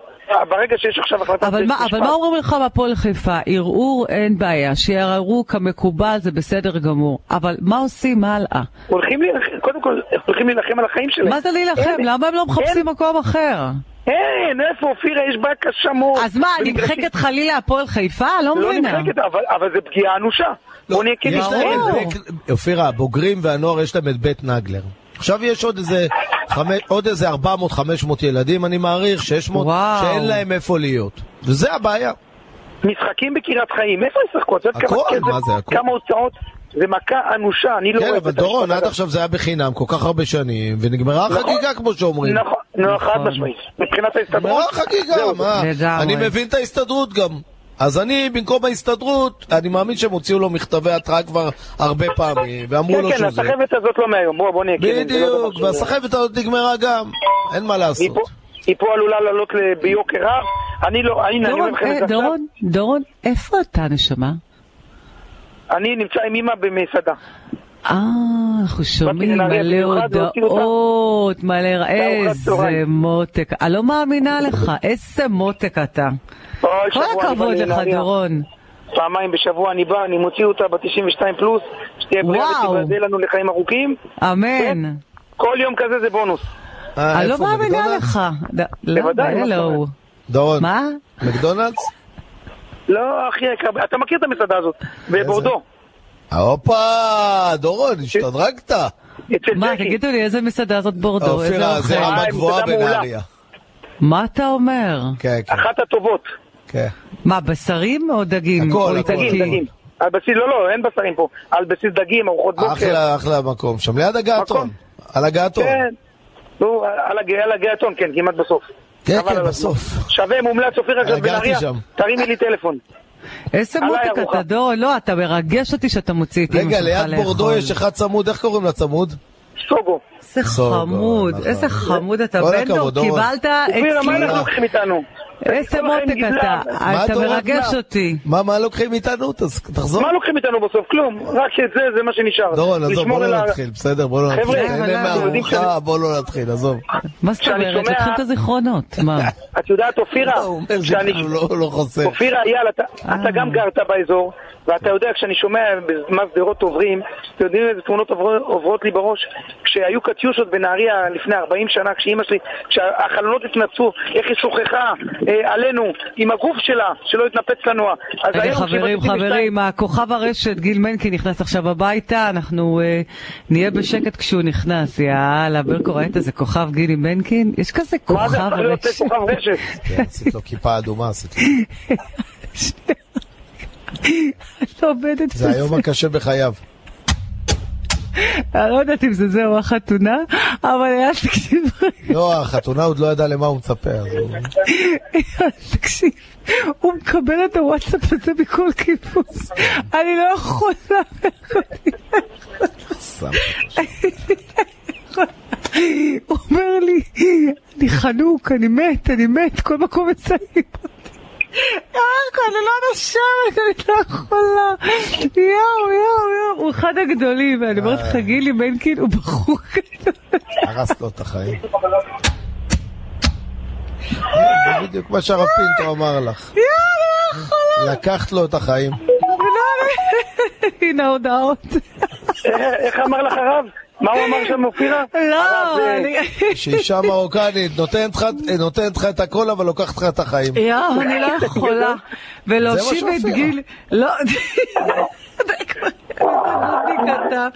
G: ברגע שיש עכשיו החלטה...
B: אבל מה, אבל מה אומרים לך בהפועל חיפה? ערעור אין בעיה, שיערערו כמקובל זה בסדר גמור, אבל מה עושים הלאה?
G: הולכים להילחם, קודם כל, הולכים להילחם על החיים שלהם.
B: מה זה להילחם?
G: אין-
B: למה הם לא מחפשים מקום אחר?
G: אין, איפה אופירה? יש בעיה קשה מאוד.
B: אז מה,
G: במגרשים-
B: נמחקת חלילה הפועל חיפה? לא
G: לא
B: מבינה.
G: נמחקת, אבל- אבל זה פגיעה אנושה. בוא נהיה
C: לא,
G: כן
C: יש
G: כנים.
C: להם-
G: אין.
B: ברור.
C: זה- אופירה, הבוגרים והנוער יש להם את בית נגלר. עכשיו יש עוד איזה, חמש- עוד איזה 400-500 ילדים, אני מעריך, 600,
B: וואו.
C: שאין להם איפה להיות. וזה הבעיה.
G: משחקים בקריית חיים, איפה ישחקו? את יודעת כמה
C: הכל,
G: כסף?
C: מה זה הכל?
G: כמה הוצאות? זה מכה אנושה, אני לא
C: כן,
G: רואה
C: אבל
G: את זה.
C: דורון, עד עכשיו זה היה בחינם כל כך הרבה שנים, ונגמרה
G: נכון.
C: החגיגה כמו שאומרים.
G: נכון, נכון, חד משמעית. מבחינת
C: נגמרה
G: ההסתדרות,
C: החגיגה,
G: זהו.
C: מה?
B: לגמרי.
C: אני מבין את ההסתדרות גם. אז אני, במקום ההסתדרות, אני מאמין שהם הוציאו לו מכתבי התראה כבר הרבה פעמים, ואמרו
G: כן,
C: לו
G: כן,
C: שהוא זה.
G: הסחבת הזאת לא מהיום, בוא בוא נהיה כנים. זה לא דבר
C: בדיוק,
G: שהוא-
C: והסחבת הזאת נגמרה גם, אין מה
G: היא
C: לעשות.
G: פה- היא פה עלולה לעלות ל- ביוקר רב, אני לא, הנה, אני אומר
B: דורון,
G: לכם את
B: אה,
G: זה עכשיו,
B: דורון, דורון, איפה אתה נשמה?
G: אני נמצא עם אמא במסעדה.
B: אה, אנחנו שומעים
G: לנהריה
B: מלא
G: במיוחד, להוציא אותה.
B: הודעות, מלא... איזה
G: צהריים.
B: מותק. אני לא מאמינה לך, איזה מותק אתה.
G: אוי,
B: כל
G: שבוע אני בא
B: הכבוד לך,
G: לנהריה.
B: דורון.
G: פעמיים בשבוע אני בא, אני מוציא אותה ב-92 פלוס, שתהיה בריאה
B: וואו.
G: ותיבדל לנו לחיים ארוכים. כן?
B: אמן.
G: כל יום כזה זה בונוס.
C: אה,
B: אני לא
C: איפה,
B: מאמינה
C: מקדונלדס?
B: לך. ד- לא,
G: בוודאי, מה
B: לא,
G: זאת
B: הוא.
G: אומרת?
C: דורון,
B: מה?
C: מקדונלדס?
G: לא, אחי היקר, אתה מכיר את המסעדה הזאת, בבורדו.
C: הופה, דורון, השתדרגת.
G: אצל
B: מה,
G: ג'קי.
B: תגידו לי, איזה מסעדה זאת בורדו? איזה
C: אופירה, זה
B: אוכל?
C: רמה
G: אה,
C: גבוהה
G: מסעדה מעולה.
C: בנהריה.
B: מה אתה אומר?
C: כן, כן,
G: אחת הטובות.
C: כן.
B: מה, בשרים או דגים?
C: הכל,
B: או
C: הכל.
B: איטלקי?
G: דגים, דגים. על בסיס, לא, לא, אין בשרים פה. על בסיס דגים, ארוחות בוקר.
C: אחלה, אחלה מקום שם, ליד הגעתון.
G: מקום.
C: על הגעתון.
G: כן. נו, על הג- על הגעתון, כן, כמעט בסוף.
C: כן,
G: חבל
C: כן,
G: על הזמן.
C: בסוף.
G: שווה, מומלץ, אופיר עכשיו
C: הגעתי
G: בנהריה,
C: שם.
G: תרימי לי טלפון.
B: איזה
G: עליי
B: מותק אתה
G: ארוחה.
B: דור, לא, אתה מרגש אותי שאתה מוציא את אמא
C: רגע,
B: שלך לאכול.
C: ליד בורדו יש אחד צמוד, איך קוראים לצמוד?
G: סוגו.
B: איזה
C: סוגו,
B: חמוד,
C: נכון.
B: איזה חמוד אתה,
C: כל
B: בן דור,
C: הכבוד, אורן.
B: קיבלת כאילו-
G: אופיר, מה אנחנו
B: אצלי.
G: לוקחים איתנו?
B: אה, איזה
G: כל החיים
B: מותק
G: נגזל.
B: אתה,
C: מה
B: אה, אתה
C: אתה אומר?
B: מרגש
G: מה?
B: אותי.
C: מה, מה לוקחים איתנו? תז- תחזור.
G: מה לוקחים איתנו בסוף? כלום. רק את זה, זה מה שנשאר.
C: דורון, עזוב,
G: לשמור
C: בוא
G: על ה-
C: לא נתחיל, בסדר, בוא לא נתחיל.
B: אה,
G: חבר'ה,
C: תהנה
B: אנחנו
G: יודעים
C: מהארוחה, בוא לא נתחיל, עזוב.
B: מה זאת
G: כשאני
B: אומרת,
G: שומע-
B: לוקחים את הזיכרונות,
C: [laughs]
B: מה?
G: את יודעת, אופירה,
C: הוא אומר
G: אה, כשאני-
C: שכאילו לא- לא חוסר.
G: אופירה, אייל, אתה,
B: אה.
G: אתה גם גרת באזור, ואתה יודע, כשאני שומע בזמן שדרות עוברים, אתם יודעים איזה תמונות עובר, עוברות לי בראש? כשהיו קטיושות בנהריה לפני 40 שנה, כשאימא שלי, כשהחלונות התנפצו, איך היא שוחחה אה, עלינו, עם הגוף שלה, שלא התנפץ לנו. אז
B: רגע,
G: היום
B: אה, חברים,
G: כשבניתי בשתיים-
B: חברים, הכוכב הרשת גיל מנקין נכנס עכשיו הביתה, אנחנו אה, נהיה בשקט כשהוא נכנס, יאללה, ברקו, ראית איזה כוכב גילי מנקין? יש כזה
G: מה זה,
B: כוכב
G: צריך להיות
B: רשת.
G: כוכב רשת.
C: כן, עשית לו כיפה אדומה, עשית לו.
B: [laughs] את עובדת
C: זה היום הקשה בחייו.
B: אני לא יודעת אם זה זה או החתונה, אבל היה תקשיב,
C: לא, החתונה עוד לא ידע למה הוא מצפה. אז הוא-
B: תקשיב, הוא מקבל את הוואטסאפ הזה מכל כיפוץ, אני לא יכולה,
C: סתם.
B: הוא אומר לי, אני חנוק, אני מת, אני מת, כל מקום מציינים אותי. ירקו, אני לא נושמת, אני לא יכולה. יואו, יואו, יואו, הוא אחד הגדולים, ואני אומרת לך, גילי מנקין הוא בחור כזה.
C: הרס לו את החיים. זה בדיוק מה שהרב פינטו אמר לך. לקחת לו את החיים.
B: הנה ההודעות.
G: אה, איך אמר לך הרב? מה הוא אמר שם, אופירה? הרב,
B: לא,
G: אה,
B: אני...
C: שאישה מרוקנית נותנת לך- נותנת לך את הכל, אבל לוקחת לך את החיים.
B: יואו, אני לא יכולה. ולהושיב
C: זה מה
B: את
C: שאופירה.
B: גיל... לא... [laughs] די כבר, אני כתב.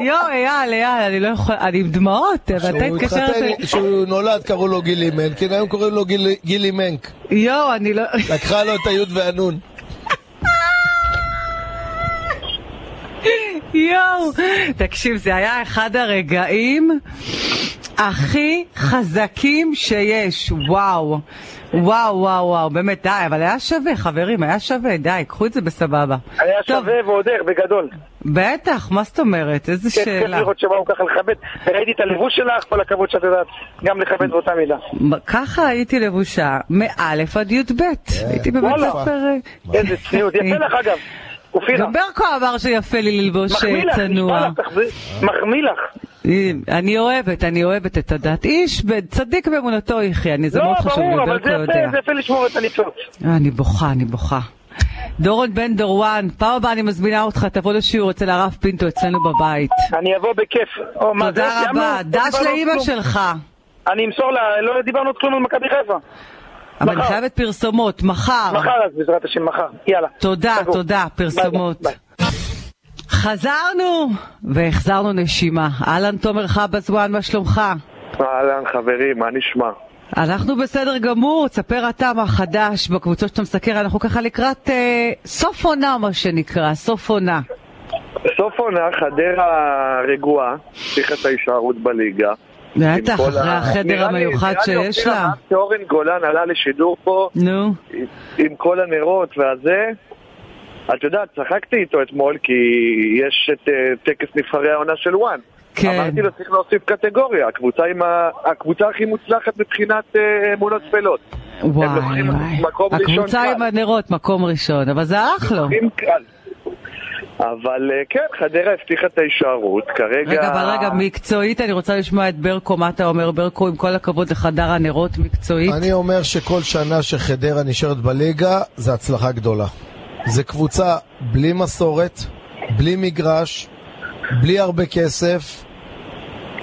B: יואו, אייל, אייל, אני לא יכולה, אני עם דמעות, ואתה
C: כשהוא
B: התקשרת...
C: התחתן- כשהוא נולד קראו לו גילי מנקין, היום קוראים לו גילי- גילי מנק.
B: יואו, אני לא...
C: לקחה לו את היוד והנון.
B: יואו. תקשיב, זה היה אחד הרגעים הכי חזקים שיש. וואו. וואו, וואו, וואו, באמת, די, אבל היה שווה, חברים, היה שווה, די, קחו את זה בסבבה.
G: היה
B: טוב,
G: שווה ועוד איך, בגדול.
B: בטח, מה זאת אומרת? איזה
G: כן, כיף
B: שאלה.
G: לראות שבאו ככה לכבד. וראיתי את הלבוש שלך, כל הכבוד שאת יודעת גם לכבד באותה מידה.
B: ככה הייתי לבושה מאלף עד י"ב, הייתי בבית
G: וואלה.
B: ספר...
G: איזה צניעות. יפה לך אגב. אופירה.
B: גם ברקו אמר שיפה לי ללבוש
G: מחמיא לך,
B: אה, צנוע.
G: נשבע לך, תחזיר-
B: אה?
G: מחמיא לך.
B: אני אוהבת, אני אוהבת את הדת. איש ב- צדיק באמונתו יחי, אני זה
G: לא,
B: מאוד חשוב,
G: ברור,
B: לי,
G: אבל
B: ברקו
G: זה
B: יודע.
G: יפה, זה יפה לשמור את הניצוץ.
B: אה, אני בוכה, אני בוכה. דורון בן דורואן, פעם הבאה אני מזמינה אותך, תבוא לשיעור אצל הרב פינטו אצלנו בבית.
G: אני אבוא בכיף. או, מה, זה,
B: תודה
G: סיימנו?
B: רבה,
G: לא
B: דש
G: דיברנו
B: לאימא
G: כלום.
B: שלך.
G: אני אמסור לה, לא דיברנו עוד כלום על מכבי חיפה.
B: אבל אני
G: מחר.
B: חייבת פרסומות, מחר.
G: מחר אז בעזרת השם, מחר. יאללה.
B: אה. תודה,
G: סגור.
B: תודה, פרסומות.
G: ביי, ביי.
B: חזרנו, והחזרנו נשימה. אהלן תומר חבזואן, מה שלומך?
H: אהלן חברים, מה נשמע?
B: אנחנו בסדר גמור, תספר אתה מה חדש בקבוצות שאתה מסקר, אנחנו ככה לקראת אה, סוף עונה, מה שנקרא, סוף עונה.
H: סוף עונה, חדרה רגועה, צריך את ההישארות בליגה.
B: בטח,
H: עם כל
B: אחרי
H: ה-
B: החדר
H: נראה לי-
B: המיוחד
H: נראה לי
B: שיש
H: אופירה,
B: לה.
H: מאז שאורן גולן עלה לשידור פה
B: נו,
H: עם כל הנרות והזה. את יודעת, צחקתי איתו אתמול כי יש את אה, טקס נבחרי העונה של וואן.
B: כן.
H: אמרתי לו, צריך להוסיף קטגוריה, הקבוצה, עם ה... הקבוצה הכי מוצלחת מבחינת אה, אמונות טפלות.
B: וואי
H: לוקחים
B: וואי.
H: מקום ראשון
B: הקבוצה
H: קל.
B: עם הנרות, מקום ראשון, אבל זה הלך לו.
H: אם קל. אבל אה, כן, חדרה הבטיחה את ההישארות, כרגע...
B: רגע, אבל רגע, מקצועית, אני רוצה לשמוע את ברקו, מה אתה אומר, ברקו, עם כל הכבוד לחדר הנרות מקצועית.
C: אני אומר שכל שנה שחדרה נשארת בליגה, זה הצלחה גדולה. זה קבוצה בלי מסורת, בלי מגרש, בלי הרבה כסף.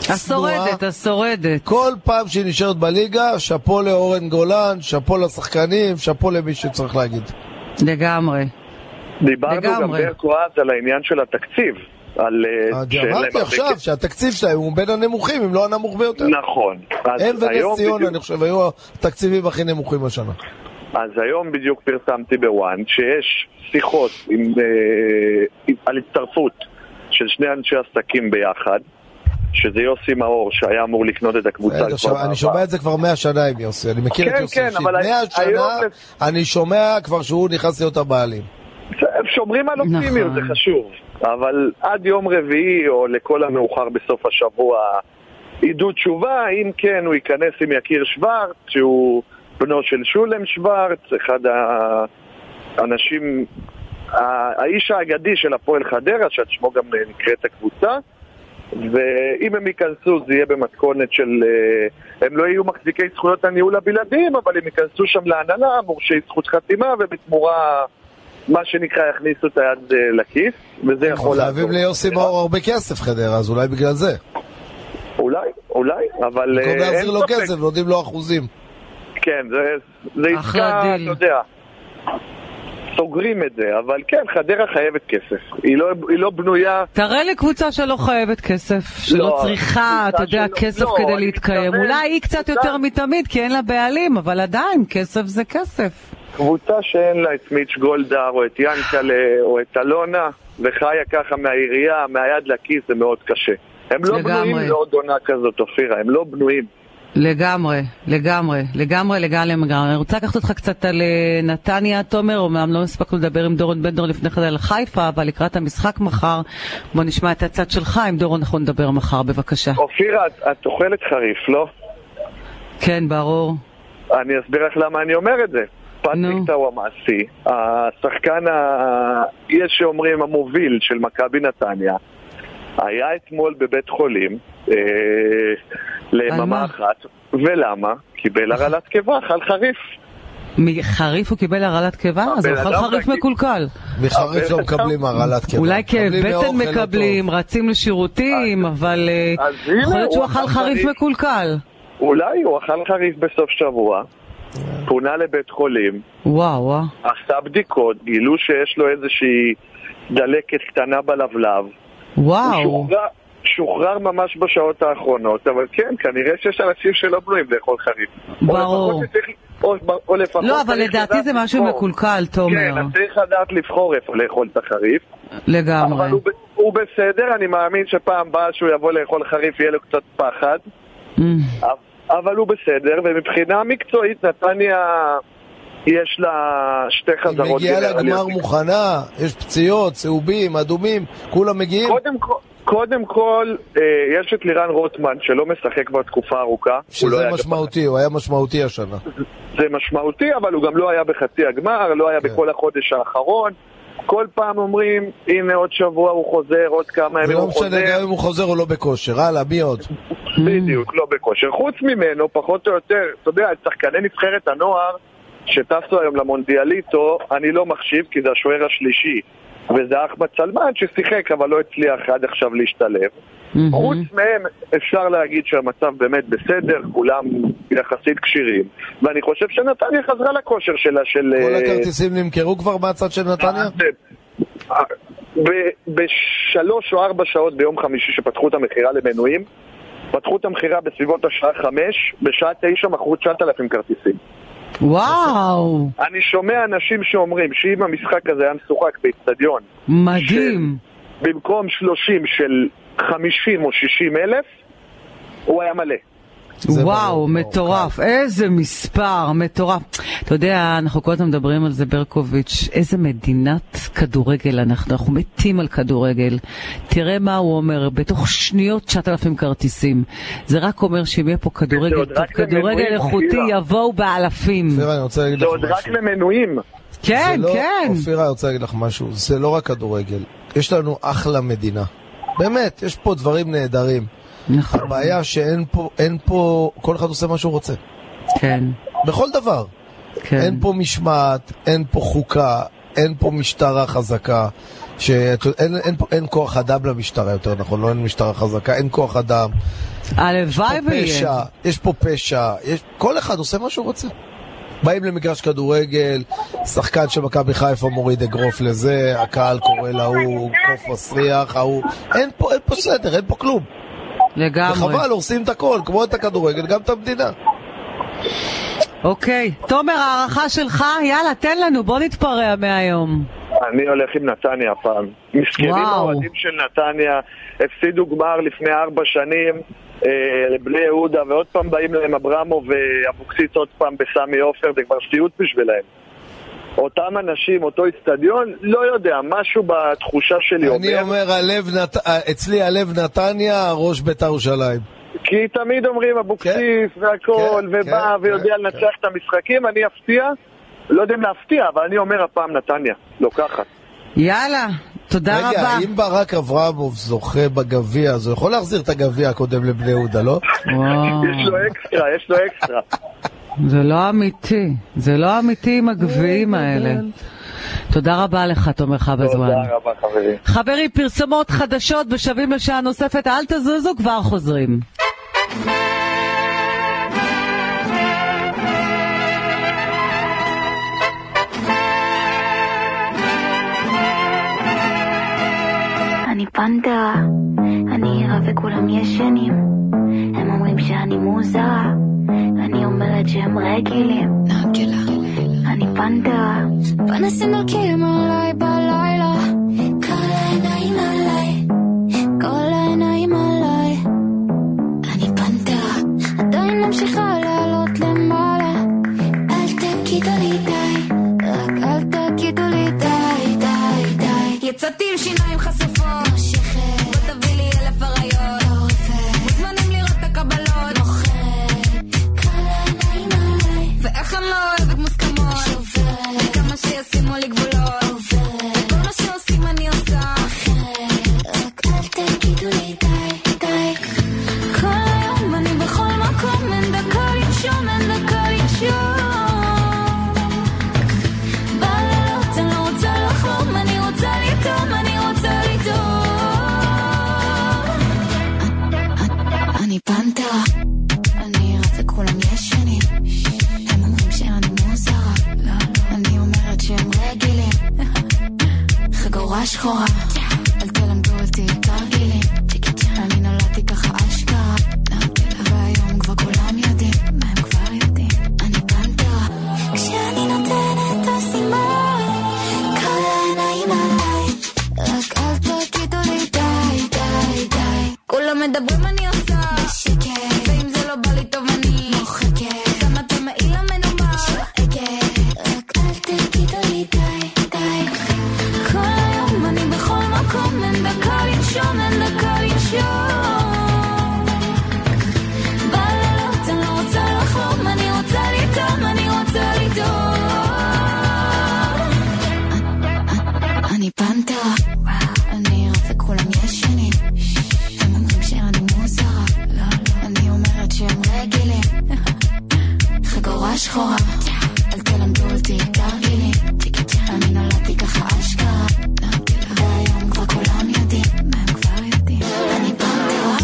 B: השורדת,
C: צנועה.
B: השורדת.
C: כל פעם שהיא נשארת בליגה, שאפו לאורן גולן, שאפו לשחקנים, שאפו למי שצריך להגיד.
B: לגמרי.
H: דיברנו גם
B: לגמרי.
H: ברקו אז על העניין של התקציב. על... אה,
C: אני
H: שאין להם
C: אמרתי
H: הרבה
C: עכשיו
H: כסף.
C: שהתקציב שלהם הוא בין הנמוכים, אם לא הנמוך ביותר.
H: נכון. אז
C: הם
H: היום
C: ונס ציונה,
H: בדיוק-
C: אני חושב, היו התקציבים הכי נמוכים השנה.
H: אז היום בדיוק פרסמתי בוואן שיש שיחות עם, אה, עם- על הצטרפות של שני אנשי עסקים ביחד, שזה יוסי מאור שהיה אמור לקנות את הקבוצה
C: בסדר,
H: כבר
C: עכשיו, אני שומע את זה כבר 100 שנה עם יוסי, אני מכיר את
H: כן,
C: יוסי
H: כן,
C: אישית.
H: אבל
C: 100
H: היום-
C: שנה אני שומע כבר שהוא נכנס להיות הבעלים.
H: הם שומרים על אופטימיות,
B: נכון.
H: זה חשוב. אבל עד יום רביעי, או לכל המאוחר בסוף השבוע, ידעו תשובה, אם כן, הוא ייכנס עם יקיר שוורץ, שהוא בנו של שולם שוורץ, אחד האנשים, ה- האיש האגדי של הפועל חדרה, שעל שמו גם אה, נקראת הקבוצה. ואם הם ייכנסו זה יהיה במתכונת של... אה, הם לא יהיו מחזיקי זכויות הניהול הבלעדיים, אבל הם ייכנסו שם להנהלה, מורשי זכות חתימה, ובתמורה, מה שנקרא, יכניסו את היד אה, לכיס, וזה יכול
C: חייבים
H: לעזור.
C: ליוסי מאור הרבה כסף חדרה, אז אולי בגלל זה.
H: אולי, אולי, אבל...
C: במקום
H: אה,
C: להחזיר
H: אין
C: לו
H: ספק.
C: כסף, נותנים לו אחוזים.
H: כן, זה, זה
B: אחלה
H: עסקה, אתה
B: דיל.
H: יודע. סוגרים את זה, אבל כן, חדרה חייבת כסף. היא לא, היא לא בנויה...
B: תראה לי קבוצה שלא חייבת כסף, שלא
H: לא,
B: צריכה, אתה
H: קבוצה
B: יודע,
H: שלא-
B: כסף
H: לא,
B: כדי
H: אני
B: להתקיים.
H: מתכוון-
B: אולי היא קצת
H: קבוצה-
B: יותר מתמיד, כי אין לה בעלים, אבל עדיין, כסף זה כסף.
H: קבוצה שאין לה את מיץ' גולדהר או את ינקלה או את אלונה וחיה ככה מהעירייה, מהיד לכיס, זה מאוד קשה. הם לא
B: לגמרי.
H: בנויים לעוד עונה כזאת, אופירה, הם לא בנויים.
B: לגמרי, לגמרי, לגמרי, לגמרי, לגמרי. אני רוצה לקחת אותך קצת על אה, נתניה, תומר, אומנם לא הספקנו לדבר עם דורון בן דור לפני כן על חיפה, אבל לקראת המשחק מחר, בוא נשמע את הצד שלך, עם דורון אנחנו נדבר מחר, בבקשה.
H: אופירה, את, את אוכלת חריף, לא?
B: כן, ברור.
H: אני אסביר לך למה אני אומר את זה.
B: נו.
H: פטריק טוואמאסי, השחקן, ה... יש שאומרים המוביל של מכבי נתניה, היה אתמול בבית חולים אה,
B: על מה?
H: ליממה אחת, ולמה? קיבל הרעלת קיבה, אכל חריף.
B: מחריף הוא קיבל הרעלת קיבה? אז הוא
H: הבן
B: אכל
H: אדם
B: חריף
H: רגיל.
B: מקולקל.
H: אה,
C: מחריף לא מקבלים הרעלת קיבה.
B: אולי כאב
C: מקבלים
B: בטן
C: מהאוכל הטוב.
B: מקבלים, רצים לשירותים, אבל אה,
H: אז הנה,
B: יכול להיות
H: הוא
B: שהוא אכל
H: אכל
B: חריף
H: חריף.
B: מקולקל.
H: אולי הוא אכל חריף בסוף שבוע, פונה לבית חולים,
B: וואו, אה. וואו.
H: עשה בדיקות, גילו שיש לו איזושהי דלקת קטנה בלבלב. הוא
B: וואו.
H: שוחרר- שוחרר ממש בשעות האחרונות, אבל כן, כנראה שיש אנשים שלא בנויים לאכול חריף. או
B: ברור.
H: לפחות שצריך- או- או לפחות
B: לא, אבל
H: צריך
B: לדעתי
H: לדעת
B: זה משהו
H: לבחור.
B: מקולקל, תומר.
H: כן, אז צריך לדעת לבחור איפה לאכול את החריף,
B: לגמרי.
H: אבל הוא ב- הוא בסדר, אני מאמין שפעם באה שהוא יבוא לאכול חריף יהיה לו קצת פחד.
B: אמ,
H: אבל הוא בסדר, ומבחינה מקצועית נתניה יש לה שתי
C: היא
H: חזרות
C: מגיעה לגמר
H: גנרליות.
C: מוכנה, יש פציעות, צהובים, אדומים, כולם מגיעים.
H: קודם כל... קודם כל, אה, יש את לירן רוטמן שלא משחק כבר תקופה ארוכה. הוא לא
C: שזה
H: היה
C: משמעותי, הוא היה משמעותי השנה.
H: זה משמעותי, אבל הוא גם לא היה בחצי הגמר, לא היה
C: כן.
H: בכל החודש האחרון. כל פעם אומרים, הנה עוד שבוע הוא חוזר, עוד כמה ימים
C: ולא
H: הוא
C: משנה, גם
H: חוזר.
C: אם הוא חוזר או לא בכושר. הלאה, מי עוד?
H: בדיוק, לא בכושר. חוץ ממנו, פחות או יותר, אתה יודע, את שחקני נבחרת הנוער שטסו היום למונדיאליטו, אני לא מחשיב, כי זה השוער השלישי. וזה אחמד סלמן ששיחק, אבל לא הצליח עד עכשיו להשתלב.
B: אמ,
H: חוץ מהם אפשר להגיד שהמצב באמת בסדר, כולם יחסית כשירים. ואני חושב שנתניה חזרה לכושר שלה של...
C: כל
H: אה,
C: הכרטיסים נמכרו כבר מהצד של נתניה?
H: אה, ב- בשלוש או ארבע שעות ביום חמישי שפתחו את המכירה למנויים, פתחו את המכירה בסביבות השעה חמש, בשעה תשע מכרו 9,000 כרטיסים.
B: וואו,
H: אני שומע אנשים שאומרים שאם המשחק הזה היה משוחק באיצטדיון
B: מדהים.
H: במקום 30 של 50 או 60 אלף, הוא היה מלא.
C: זה
B: וואו,
C: ברור,
B: מטורף, איזה מספר, מטורף. אתה יודע, אנחנו כל הזמן מדברים על זה, ברקוביץ', איזה מדינת כדורגל אנחנו, אנחנו מתים על כדורגל. תראה מה הוא אומר, בתוך שניות 9,000 כרטיסים. זה רק אומר שאם יהיה פה כדורגל
H: עוד
B: טוב,
H: רק
B: כדורגל
H: למנויים,
B: איכותי,
H: אופירה.
B: יבואו באלפים.
C: אופירה, אני רוצה להגיד
H: זה
C: לך
H: עוד רק
C: משהו.
H: למנויים.
C: זה
B: כן,
C: אוקיי. לא-
B: כן.
C: אופירה, אני רוצה להגיד לך משהו. זה לא רק כדורגל. יש לנו אחלה מדינה. באמת, יש פה דברים נהדרים.
B: נכון,
C: הבעיה שאין פה, אין פה, כל אחד עושה מה שהוא רוצה.
B: כן,
C: בכל דבר.
B: כן.
C: אין פה משמעת, אין פה חוקה, אין פה משטרה חזקה. ש... אין, אין, פה- אין כוח אדם למשטרה יותר נכון, לא אין משטרה חזקה, אין כוח אדם.
B: הלוואי
C: פה
B: ויהיה.
C: פשע, יש פה פשע, יש... כל אחד עושה מה שהוא רוצה. באים למגרש כדורגל, שחקן של מכבי חיפה מוריד אגרוף לזה, הקהל קורא להוא, קוף מסריח, ההוא, אין פה, אין פה סדר, אין פה כלום.
B: לגמרי.
C: וחבל, הורסים את הכל, כמו את הכדורגל, גם את המדינה.
B: אוקיי. תומר, הערכה שלך, יאללה, תן לנו, בוא נתפרע מהיום.
H: אני הולך עם נתניה הפעם. מסכנים
B: וואו.
H: האוהדים של נתניה, הפסידו גמר לפני ארבע שנים אה, לבני יהודה, ועוד פעם באים להם אברמו ואבוקסיס עוד פעם בסמי עופר, זה כבר סיוט בשבילהם. אותם אנשים, אותו איצטדיון, לא יודע, משהו בתחושה שלי
C: אני אומר, הלב נת... אצלי הלב נתניה, ראש בית"ר ירושלים.
H: כי תמיד אומרים אבוקסיס
C: כן,
H: והכל,
C: כן,
H: ובא
C: כן,
H: ויודע
C: כן,
H: לנצח את המשחקים, אני אפתיע, לא יודע אם להפתיע, אבל אני אומר הפעם נתניה, לוקחת.
B: יאללה, תודה
C: רגע,
B: רבה.
C: אם ברק אברמוב זוכה בגביע, אז הוא יכול להחזיר את הגביע הקודם לבני יהודה, לא?
B: וואו,
H: יש לו אקסטרה, יש לו אקסטרה.
B: זה לא אמיתי. זה לא אמיתי עם הגביעים האלה. תודה רבה לך, תומר חבזואן.
H: תודה רבה חברים.
B: חברים, פרסומות חדשות בשבים לשעה נוספת, אל תזוזו, כבר חוזרים.
I: אני פנתרה, אני ערה וכולם ישנים. הם אומרים שאני מוזרה, אני אומרת שהם רגילים. אני פנתרה.
J: פנסים מלכים עליי בלילה, כל העיניים עליי, כל העיניים עליי. אני פנתרה, עדיין ממשיכה לעלות למעלה, אל תגידו לי די, רק אל תגידו לי די, די, די. יצאתי עם שיניים חשופות, מושכת, בוא תביא לי אלף עריות, טורפת, מוזמנים לראות את הקבלות, מוכרת, כל העיניים עליי, ואיך אני לא אוהבת מוסכמות, שוברת, כמה שישימו לי גבולות, עוברת, כל מה שעושים אני עושה, אחרת, רק אל תגידו לי די, די. כל היום אני בכל מקום, אין דקה לנשום, אין דקה לנשום. בלילות אני לא רוצה לחלום, אני רוצה לטעום, אני רוצה לטעום. אני פנתרה, אני רב וכולם ישנים. הם אומרים שאני מוזרה, אני אומרת שהם רגילים. חגורה שחורה, אל תלמדו אותי תרגילים. אני נולדתי ככה אשכרה, והיום כבר כולם יודעים. מה הם כבר יודעים? אני פנתרה. כשאני נותנת הסימן, כל העיניים עליי. רק אל תגידו לי די, די, די. כולם מדברים אני עושה בשקט, ואם זה לא בא לי טוב אני מוחקת. שמה את המעיל המנומר שלועגת. רק אל תגידו לי די, די. כל היום אני בכל מקום, אין דקה לנשום, אין דקה לנשום. בלילות אני לא רוצה לחלום, אני רוצה לטעום, אני רוצה לטעום. אני פנתרה, אני רב וכולם ישנים. הם אומרים שאני מוזרה, אני אומרת שהם [laughs] רגילים. חגורה שחורה, אל תלמדו אותי תרגילים. אני נולדתי ככה אשכרה, והיום כבר כולם יודעים. מה הם כבר יודעים? אני פנתרה.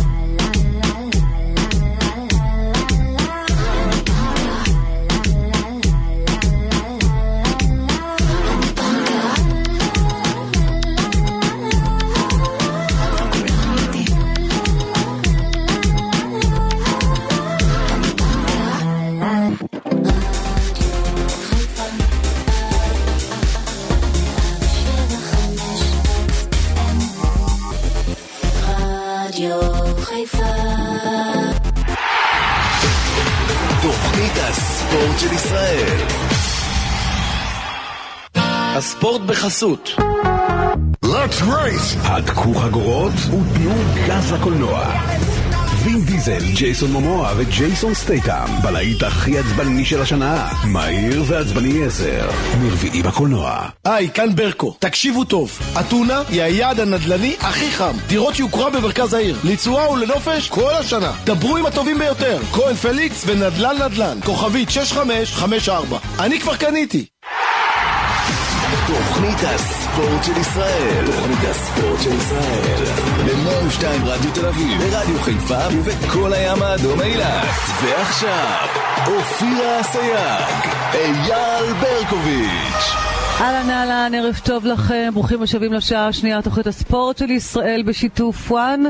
A: תוכנית הספורט של ישראל. הספורט בחסות. Let's race! הדקו חגורות ותנו גז לקולנוע. וין דיזל, ג'ייסון מומואה וג'ייסון סטייטאם, בלהיט הכי עצבני של השנה, מהיר ועצבני 10, מרביעי בקולנוע.
K: היי, כאן ברקו. תקשיבו טוב, אתונה היא היעד הנדל"ני הכי חם. דירות יוקרה במרכז העיר, לתשואה ולנופש כל השנה. דברו עם הטובים ביותר, כהן פליקס ונדל"ן נדל"ן, כוכבית 6554. אני כבר קניתי.
A: תוכנית הספורט הספורט של ישראל. תוכנית הספורט של ישראל. ב-102 רדיו תל אביב, ברדיו חיפה ובכל הים האדום אילת. ועכשיו, אופירה אסייג, אייל ברקוביץ'.
B: אהלן אהלן, ערב טוב לכם, ברוכים השבים לשעה השנייה, תוכנית הספורט של ישראל בשיתוף וואן.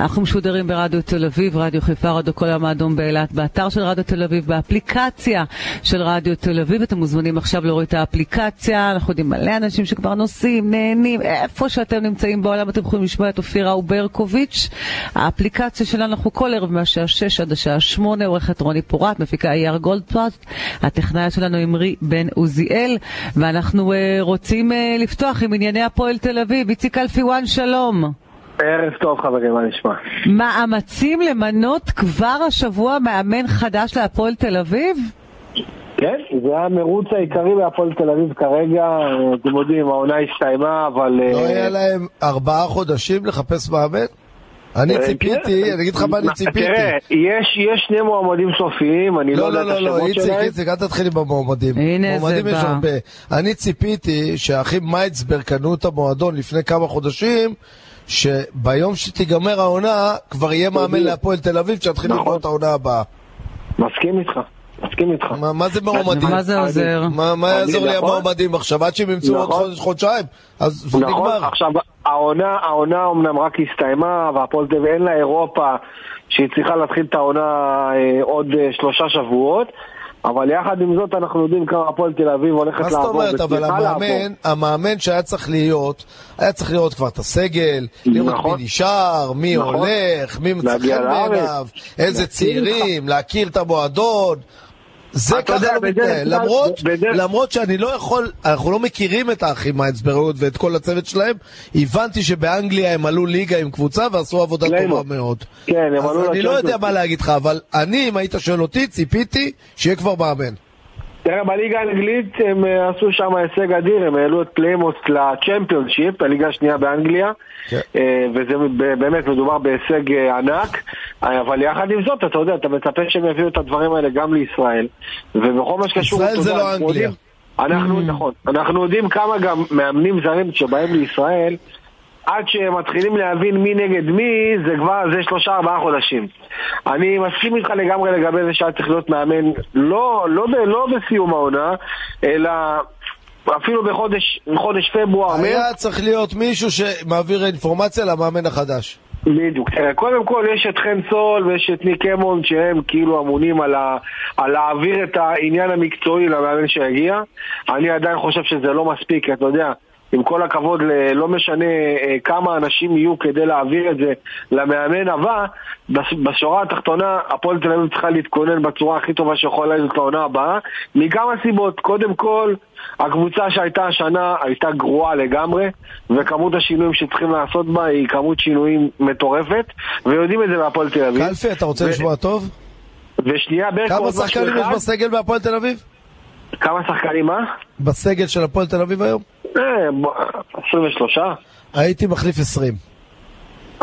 B: אנחנו משודרים ברדיו תל אביב, רדיו חיפה, רדיו כל ים האדום באילת, באתר של רדיו תל אביב, באפליקציה של רדיו תל אביב. אתם מוזמנים עכשיו להוריד את האפליקציה, אנחנו יודעים מלא אנשים שכבר נוסעים, נהנים, איפה שאתם נמצאים בעולם אתם יכולים לשמוע את אופירה וברקוביץ'. האפליקציה שלנו, אנחנו כל ערב מהשעה 6 עד השעה 8, עורכת רוני פורת, מפיקה אייר גולדפרט, הטכנאי שלנו אמרי בן עוזיאל, ואנחנו אה, רוצים אה, לפתוח עם ענייני הפועל תל אביב. איציק אלפיואן, שלום.
L: ערב טוב חברים, מה נשמע?
B: מאמצים למנות כבר השבוע מאמן חדש להפועל תל אביב?
L: כן, זה המרוץ העיקרי בהפועל תל אביב כרגע, אה, אתם יודעים, העונה הסתיימה, אבל... אה,
C: לא היה להם ארבעה חודשים לחפש מאמן? אני ציפיתי, אני אגיד לך מה אני ציפיתי.
L: תראה, יש, יש שני מועמדים סופיים, אני לא,
C: לא,
L: יודע
C: לא, לא,
L: את השמות
C: לא, איציק,
L: שלהם.
C: איציק, אל תתחיל עם המועמדים.
L: הנה זה
C: מועמדים יש
L: בא.
C: הרבה. אני ציפיתי שהאחים מייצברג קנו את המועדון לפני כמה חודשים, שביום שתיגמר העונה, כבר יהיה מאמן
L: בדיוק.
C: להפועל תל אביב, שיתחיל
L: נכון.
C: לקרוא את העונה הבאה.
L: מסכים איתך, מסכים איתך.
C: מה מה זה מועמדים?
B: מה זה עוזר?
C: מה- מה
L: אני,
C: יעזור לי
L: נכון.
C: המועמדים עכשיו? עד שהם ימצאו עוד
L: נכון.
C: חודש, חודשיים? אז זה
L: נכון,
C: נגמר.
L: עכשיו, העונה, העונה אומנם רק הסתיימה, והפועל תל אביב אין לה אירופה שהיא צריכה להתחיל את העונה אה, עוד אה, שלושה שבועות, אבל יחד עם זאת אנחנו יודעים כמה הפועל תל אביב הולכת
C: מה
L: לעבור.
C: זאת אומרת, אבל
L: וצריכה לעבור.
C: המאמן, המאמן שהיה צריך להיות, היה צריך לראות כבר את הסגל, לראות
L: נכון.
C: מי נשאר, מי
L: נכון.
C: הולך, מי מצא
L: להגיע
C: חן
L: לארץ.
C: בעיניו, איזה
L: להכיר
C: צעירים, להכיר את המועדון. זה
L: אתה יודע,
C: ככה לא
L: בדרך
C: מתנהל,
L: כלל-
C: למרות,
L: בדרך-
C: למרות שאני לא יכול, אנחנו לא מכירים את האחים מהאצברות ואת כל הצוות שלהם, הבנתי שבאנגליה הם עלו ליגה עם קבוצה ועשו עבודה טובה
L: קליימור.
C: מאוד.
L: כן, הם
C: אז
L: עלו
C: אני לא
L: לצ'מפיונס.
C: יודע מה להגיד לך, אבל אני, אם היית שואל אותי, ציפיתי שיהיה כבר מאמן.
L: תראה, בליגה האנגלית הם אה, עשו שם הישג אדיר, הם העלו את פליימוס לצ'מפיונשיפ, הליגה השנייה באנגליה,
C: כן.
L: אה, וזה ב- באמת מדובר בהישג אה, ענק, אה, אבל יחד עם זאת, אתה יודע, אתה מצפה שהם יביאו את הדברים האלה גם לישראל, ובכל מה שקשור...
C: ישראל
L: אתה
C: זה
L: יודע,
C: לא
L: אנחנו
C: אנגליה.
L: יודעים- אנחנו, נכון, אנחנו יודעים כמה גם מאמנים זרים שבאים לישראל, עד שמתחילים להבין מי נגד מי, זה כבר, זה שלושה ארבעה חודשים. אני מסכים איתך לגמרי לגבי זה שהיה צריך להיות מאמן, לא, לא, ב, לא בסיום העונה, אלא אפילו בחודש חודש פברואר,
C: היה
L: מרץ.
C: צריך להיות מישהו שמעביר אינפורמציה למאמן החדש.
L: בדיוק. תראה, קודם כל יש את חן סול ויש את ניק אמון שהם כאילו אמונים על, ה, על להעביר את העניין המקצועי למאמן שיגיע. אני עדיין חושב שזה לא מספיק, אתה יודע. עם כל הכבוד, ל- לא משנה אה, כמה אנשים יהיו כדי להעביר את זה למאמן הבא, בש- בשורה התחתונה, הפועל תל אביב צריכה להתכונן בצורה הכי טובה שיכולה להיות לעונה הבאה, מכמה סיבות. קודם כל, הקבוצה שהייתה השנה הייתה גרועה לגמרי, וכמות השינויים שצריכים לעשות בה היא כמות שינויים מטורפת, ויודעים את זה בהפועל תל אביב.
C: קלפי, אתה רוצה
L: ו-
C: לשמוע טוב?
L: ושנייה, ברקו,
C: כמה
L: עוד משהו
C: שחקנים יש
L: אחד.
C: בסגל בהפועל תל אביב?
L: כמה שחקנים, מה?
C: בסגל של הפועל תל אביב היום?
L: אה, ב- 23.
C: הייתי מחליף 20.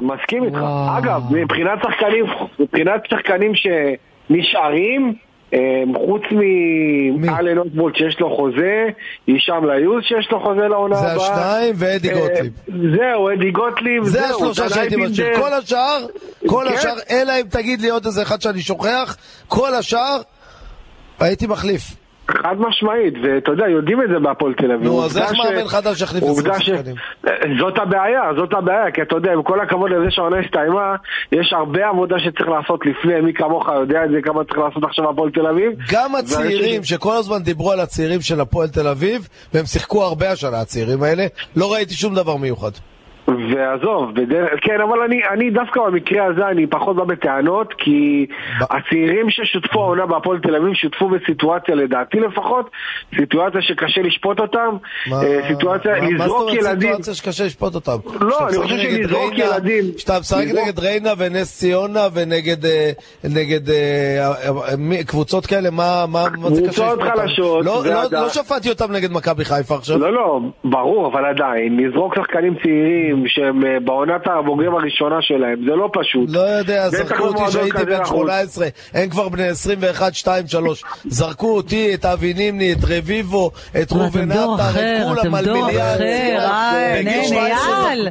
L: מסכים איתך. אגב, מבחינת שחקנים, מבחינת שחקנים שנשארים, אה, חוץ מאלן אוטבולט שיש לו חוזה, הישאם ליוז שיש לו חוזה לעונה
C: זה
L: הבאה.
C: השניים ואדי
L: אה,
C: גוטליב.
L: זהו, אדי גוטליב,
C: זה
L: זהו,
C: השלושה
L: דנאי
C: שהייתי
L: בינדר.
C: משאיר. כל השאר, כל
L: כן.
C: השאר, אלא אם תגיד לי עוד איזה אחד שאני שוכח, כל השאר הייתי מחליף.
L: חד משמעית, ואתה יודע, יודעים את זה בהפועל תל אביב.
C: נו, אז
L: עובדה
C: איך מאמן חדש יחליף
L: עובדה
C: עשרים
L: ש- אה, זאת הבעיה, זאת הבעיה, כי אתה יודע, עם כל הכבוד לזה שהעונה הסתיימה, יש הרבה עבודה שצריך לעשות לפני, מי כמוך יודע את זה, כמה צריך לעשות עכשיו הפועל תל אביב.
C: גם
L: ואני
C: הצעירים שכל הזמן דיברו על הצעירים של הפועל תל אביב, והם שיחקו הרבה השנה, הצעירים האלה, לא ראיתי שום דבר מיוחד.
L: ועזוב, בדרך, כן, אבל אני, אני דווקא במקרה הזה אני פחות בא בטענות, כי הצעירים ששותפו העונה בהפועל תל אביב שותפו בסיטואציה, לדעתי לפחות, סיטואציה שקשה לשפוט אותם,
C: מה-
L: אה, סיטואציה,
C: מה- מה זאת
L: לזרוק
C: אומרת
L: ילדים.
C: סיטואציה שקשה לשפוט אותם?
L: לא,
C: כשאתה
L: אני
C: משחק
L: חושב
C: נגד
L: שלזרוק
C: ריינה-
L: ילדים-
C: כשאתה משחק
L: לזרוק-
C: נגד ריינה ונס ציונה ונגד אה, נגד, אה, אה, מי- קבוצות כאלה, מה מה- מה זה קשה לשפוט אותם?
L: קבוצות חלשות,
C: לא-
L: זה
C: לא-
L: הדעת.
C: לא שפטתי אותם נגד מכבי חיפה עכשיו.
L: לא, לא, ברור, אבל עדיין, לזרוק שחקנים צעירים, שהם, שהם אה, בעונת הבוגרים הראשונה שלהם, זה לא פשוט.
C: לא יודע,
L: בטח
C: זרקו אותי
L: במועדון
C: שהייתי
L: כזה
C: בן
L: אנחנו-
C: 18, הם כבר בני 21, 2, 3. זרקו אותי, את אבי נימני, את רביבו, את ראובן
B: דור
C: עטר, את
B: אחר,
C: כולם
B: אתם
C: על
B: דור
C: מיליארד.
B: אחר, אה,
C: בגיל
B: הנה,
C: 17.
B: אייל.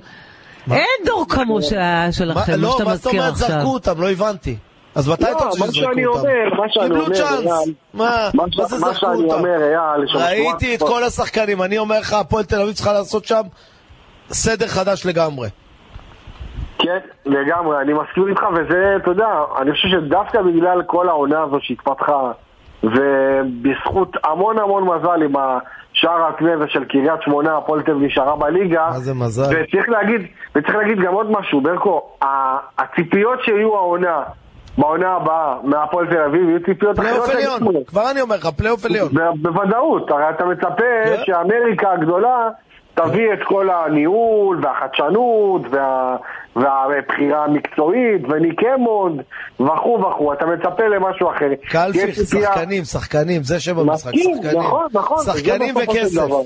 B: אין דור כמו שה-
C: מה-
B: שלכם, מה
C: לא,
B: שאתה
C: מה זאת
B: מזכיר
C: אומרת
B: עכשיו.
C: זרקו אותם? לא הבנתי. אז מתי
L: לא,
C: אתה חושב
L: מה
C: שזרקו אותם?
L: שאני אומר, מה שאני
C: קיבלו
L: אומר,
C: צ'אנס.
L: אייל,
C: מה מה
L: מה ש-
C: זה
L: מה
C: זרקו
L: שאני
C: אותם?
L: אומר, אייל, יש שם
C: ראיתי את
L: תנועה-
C: כל השחקנים, אני אומר לך, הפועל תל אביב צריכה לעשות שם סדר חדש לגמרי.
L: כן, לגמרי, אני מסכים איתך, וזה, אתה יודע, אני חושב שדווקא בגלל כל העונה הזו שהתפתחה, ובזכות המון המון מזל עם השער הכנבה של קריית שמונה, הפועל תל אביב נשארה בליגה.
C: מה זה מזל.
L: וצריך להגיד, וצריך להגיד גם עוד משהו, ברקו, ה- הציפיות שיהיו העונה, בעונה הבאה, מהפועל תל אביב, יהיו ציפיות
C: פלייאוף
L: אחרות.
C: עליון,
L: לגמרי.
C: כבר אני אומר לך, פלייאוף עליון.
L: ב- בוודאות, הרי אתה מצפה שאמריקה הגדולה תביא את כל הניהול והחדשנות וה... והבחירה המקצועית וניקמונד וכו' וכו', אתה מצפה למשהו אחר.
C: קלפי,
L: יש ציפייה-
C: שחקנים, שחקנים, זה שם המשחק,
L: מסכים,
C: שחקנים.
L: נכון, נכון, זה
C: שחקנים
L: בסופו של
C: וכסף.
L: דבר.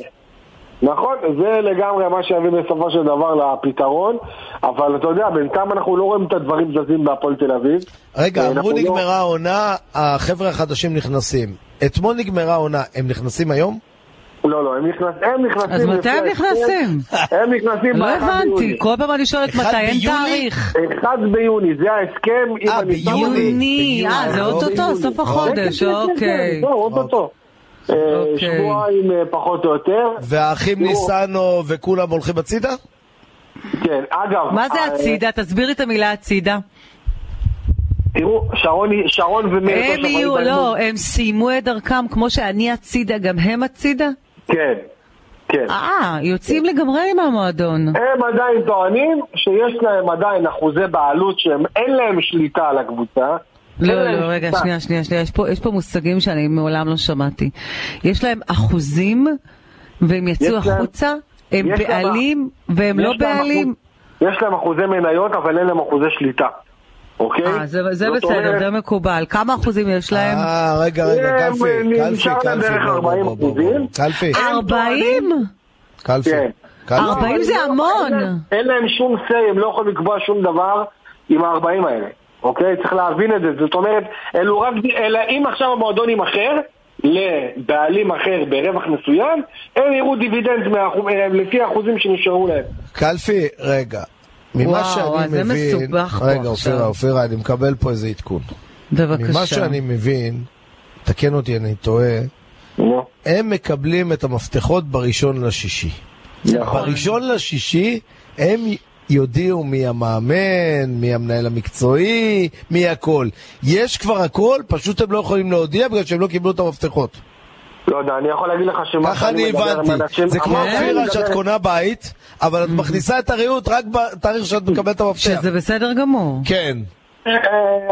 L: נכון, זה לגמרי מה שיביא בסופו של דבר לפתרון, אבל אתה יודע, בינתיים אנחנו לא רואים את הדברים זזים בהפועל תל אביב.
C: רגע,
L: ואנחנו
C: אמרו
L: לא-
C: נגמרה העונה, החבר'ה החדשים נכנסים. אתמול נגמרה העונה, הם נכנסים היום?
L: לא, לא, הם נכנס- הם נכנסים...
B: אז מתי הם
L: לפי ההסכם.
B: נכנסים?
L: הם נכנסים...
B: לא
L: באחד ביוני.
B: הבנתי, כל פעם אני שואלת
L: אחד
B: מתי, אין
L: ביוני?
B: תאריך.
L: 1 ביוני, זה ההסכם. אם
C: אה,
L: אני-
C: ביוני.
B: יוני, אה,
C: לא,
B: זה אוטוטו, סוף החודש,
L: כן, כן, כן, כן,
B: אוקיי.
L: זהו, אוטוטו. אה,
B: אוקיי.
L: שבועיים אה, פחות או יותר.
C: והאחים
L: תראו,
C: ניסנו וכולם הולכים הצידה?
L: כן, אגב...
B: מה זה
L: אה,
B: הצידה? תסבירי את המילה הצידה.
L: תראו, שרון- שרון ומאיר...
B: הם
L: כושר
B: יהיו,
L: באימון.
B: לא, הם סיימו את דרכם כמו שאני הצידה, גם הם הצידה?
L: כן, כן.
B: אה, יוצאים לגמרי מהמועדון.
L: הם עדיין טוענים שיש להם עדיין אחוזי בעלות שהם אין להם שליטה על הקבוצה. אין
B: לא,
L: להם
B: לא, רגע,
L: שליטה.
B: שנייה, שנייה, שנייה. יש פה, יש פה מושגים שאני מעולם לא שמעתי. יש להם אחוזים, והם יצאו
L: יש להם-
B: החוצה, הם
L: יש להם-
B: בעלים, והם
L: יש
B: לא
L: להם
B: בעלים.
L: אחוז- יש להם אחוזי מניות, אבל אין להם אחוזי שליטה. אוקיי?
B: אה, זה זה
L: זאת
B: בסדר,
L: אומרת,
B: זה מקובל. כמה אחוזים יש להם?
C: אה, רגע, רגע,
L: הם,
C: קלפי,
L: אה,
C: קלפי,
L: נשאר להם
C: קלפי,
L: בערך
C: בוא, בוא,
L: 40
C: בוא, בוא, בוא.
L: אחוזים.
C: קלפי,
L: הם
B: 40?
C: קלפי,
L: כן.
C: קלפי.
B: ארבעים
L: אבל
B: זה
L: לא, אין
B: המון.
L: להם- אין להם שום say, הם לא יכולים לקבוע שום דבר עם ה-40 האלה, אוקיי? צריך להבין את זה. זאת אומרת, אלו רק... אלא אם עכשיו המועדון יימכר לבעלים אחר ברווח מסוים, הם יראו דיבידנד מהאחו- אה, לפי האחוזים שנשארו להם.
C: קלפי, רגע. ממה
B: וואו,
C: שאני
B: זה
C: מבין...
B: מסובך פה
C: רגע,
B: עכשיו.
C: אופירה, אופירה, אני מקבל פה איזה עדכון. ממה
B: בבקשה.
C: שאני מבין, תקן אותי, אני טועה,
L: נו.
C: הם מקבלים את המפתחות בראשון לשישי.
L: נכון.
C: בראשון לשישי הם יודיעו מי המאמן, מי המנהל המקצועי, מי הכל. יש כבר הכל, פשוט הם לא יכולים להודיע בגלל שהם לא קיבלו את המפתחות.
L: לא יודע, אני יכול להגיד לך שמה
C: ככה אני
L: מדבר עם
C: הבנתי.
L: אנשים- כן. Mm.
C: זה כמו
L: אמרתי, אני
C: אופירה
L: מדבר-
C: שאת קונה בית, אבל את מכניסה את הריהוט רק בתאריך שאת מקבלת את המפתח.
B: שזה בסדר גמור.
C: כן.
L: אה,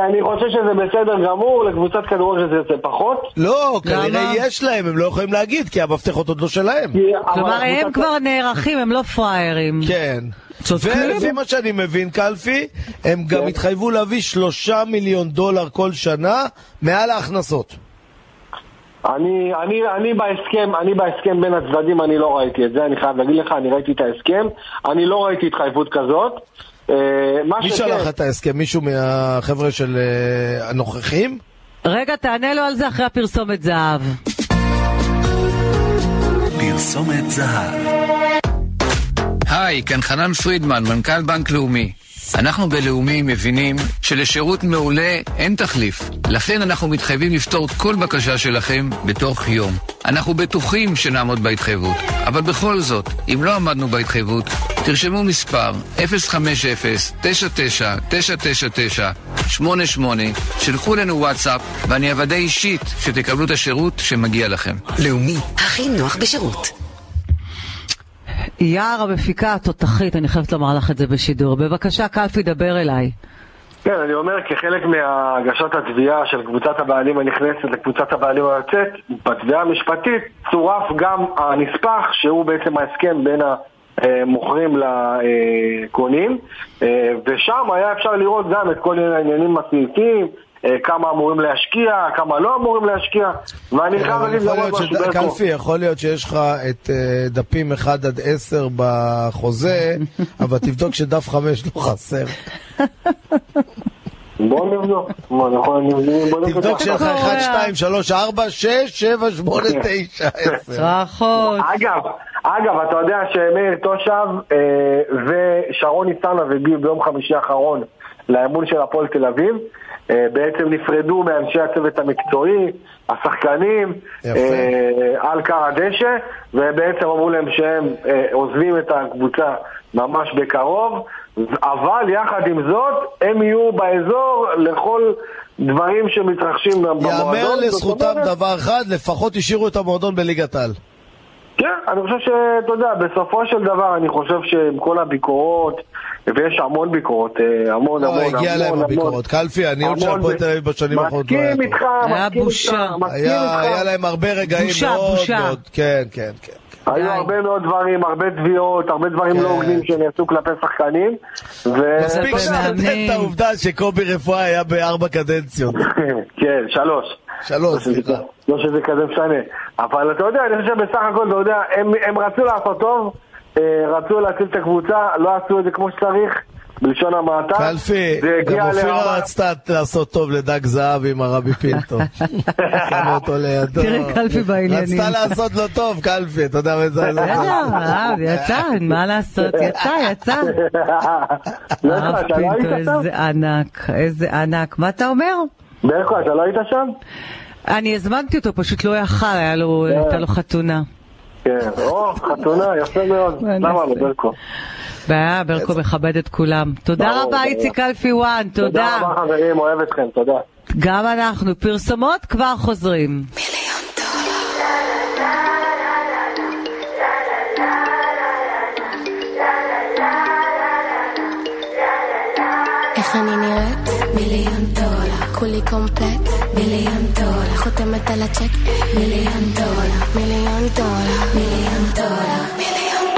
L: אני חושב שזה בסדר גמור, לקבוצת כדורגל זה- זה פחות.
C: לא,
B: למה?
C: כנראה יש להם, הם לא יכולים להגיד, כי המפתחות עוד לא שלהם.
L: כי- אבל
B: כלומר, הם
L: הקבוצת-
B: כבר נערכים, הם לא פראיירים.
C: כן.
B: צודקים.
C: ולפי מה שאני מבין, קלפי, הם
L: כן.
C: גם התחייבו להביא שלושה מיליון דולר כל שנה מעל ההכנסות.
L: אני, אני, אני בהסכם, אני בהסכם בין הצדדים, אני לא ראיתי את זה, אני חייב להגיד לך, אני ראיתי את ההסכם, אני לא ראיתי התחייבות כזאת. אה, מה
C: מי
L: שכן-
C: שלח את ההסכם? מישהו מהחבר'ה של אה, הנוכחים?
B: רגע, תענה לו על זה אחרי הפרסומת זהב.
A: פרסומת זהב.
E: היי, כאן חנן פרידמן, מנכ"ל בנק לאומי. אנחנו בלאומי מבינים שלשירות מעולה אין תחליף. לכן אנחנו מתחייבים לפתור כל בקשה שלכם בתוך יום. אנחנו בטוחים שנעמוד בהתחייבות, אבל בכל זאת, אם לא עמדנו בהתחייבות, תרשמו מספר 050-99-999-88, שלחו לנו וואטסאפ, ואני אוודא אישית שתקבלו את השירות שמגיע לכם.
F: לאומי, הכי נוח בשירות.
B: יער המפיקה התותחית, אני חייבת לומר לך את זה בשידור. בבקשה, קלפי, דבר אליי.
L: כן, אני אומר, כחלק מהגשת התביעה של קבוצת הבעלים הנכנסת לקבוצת הבעלים היוצאת, בתביעה המשפטית צורף גם הנספח, שהוא בעצם ההסכם בין המוכרים לקונים, אה, ושם היה אפשר לראות גם את כל העניינים הסעיפים, אה, כמה אמורים להשקיע, כמה לא אמורים להשקיע, ואני חייב
C: אבל
L: להגיד
C: יכול
L: גם עוד
C: להיות
L: משהו,
C: ש-
L: ברקו.
C: קלפי, יכול להיות שיש לך את אה, דפים 1 עד 10
M: [laughs]
C: בחוזה, אבל תבדוק שדף 5 לא חסר.
L: בוא נבדוק. בוא, נכון, אני- בוא נבדוק.
C: תבדוק שיש לך 1, 2, 3, 4, 6, 7, 8,
M: כן. [laughs]
C: 9, 10.
B: צרחות.
L: אגב, אגב, אתה יודע שמאיר תושב אה, ושרון ניצנה הגיעו ביום חמישי האחרון לאמון של הפועל תל אביב. אה, בעצם נפרדו מאנשי הצוות המקצועי, השחקנים, אה, על קר הדשא, ובעצם אמרו להם שהם אה, עוזבים את הקבוצה ממש בקרוב, אבל יחד עם זאת, הם יהיו באזור לכל דברים שמתרחשים גם במועדון.
C: יאמר
L: זאת
C: לזכותם
L: אומרת-
C: דבר אחד, לפחות השאירו את המועדון בליגת העל.
L: כן, אני חושב שאתה יודע, בסופו של דבר אני חושב שעם כל הביקורות, ויש המון ביקורות, אה, המון
C: לא,
L: המון המון.
C: הגיע להם
L: המון,
C: הביקורות. קלפי, הניהול של
L: המון
C: הפועל
L: ב-
C: תל אביב בשנים האחרונות לא היה
L: מסכים
C: טוב.
L: איתך, מסכים איתך, מסכים
C: היה-
L: איתך.
C: היה להם הרבה רגעים מאוד מאוד. כן, כן, כן.
L: היו הרבה מאוד דברים, הרבה תביעות, הרבה דברים לא הוגנים שנעשו כלפי שחקנים.
B: לא,
L: ו-
C: מספיק שתתן את העובדה שקובי רפואה היה בארבע קדנציות.
L: כן, שלוש.
C: שלוש, סליחה.
L: לא שזה כזה משנה. אבל אתה יודע, אני חושב שבסך הכל, אתה יודע, הם, הם רצו לעשות טוב, אה, רצו להציל את הקבוצה, לא עשו את זה כמו שצריך, בלשון המעטה.
C: קלפי,
L: זה
C: גם
L: הגיע
C: אופירה
L: לרמה-
C: רצתה לעשות טוב לדג זהב עם הרבי
L: [laughs]
C: פינטו. שמה אותו לידו.
B: תראה, קלפי בעניינים.
C: רצתה לעשות לו טוב, קלפי, אתה יודע מה זה?
B: בסדר, אה, יצא, מה לעשות, יצא, יצא.
L: לא,
B: הרב
L: אתה לא
B: פינטו,
L: היית שם?
B: איזה ענק, איזה ענק. מה אתה אומר?
L: ברקו, אתה לא היית שם?
B: אני הזמנתי אותו, פשוט לא יכל, היה לו- הייתה לו חתונה.
L: כן, או, חתונה, יפה מאוד. למה לא, ברקו?
B: והיה, ברקו מכבד את כולם. תודה
L: ברור,
B: רבה,
L: ברור.
B: איציק אלפי וואן, תודה.
L: תודה רבה חברים, אוהב אתכם, תודה.
B: גם אנחנו. פרסומות כבר חוזרים.
N: איך אני נראית? מיליון דולר. כולי קומפלט? מיליון דולר. חותמת על הצ'ק? מיליון דולר. מיליון דולר. מיליון דולר. מיליון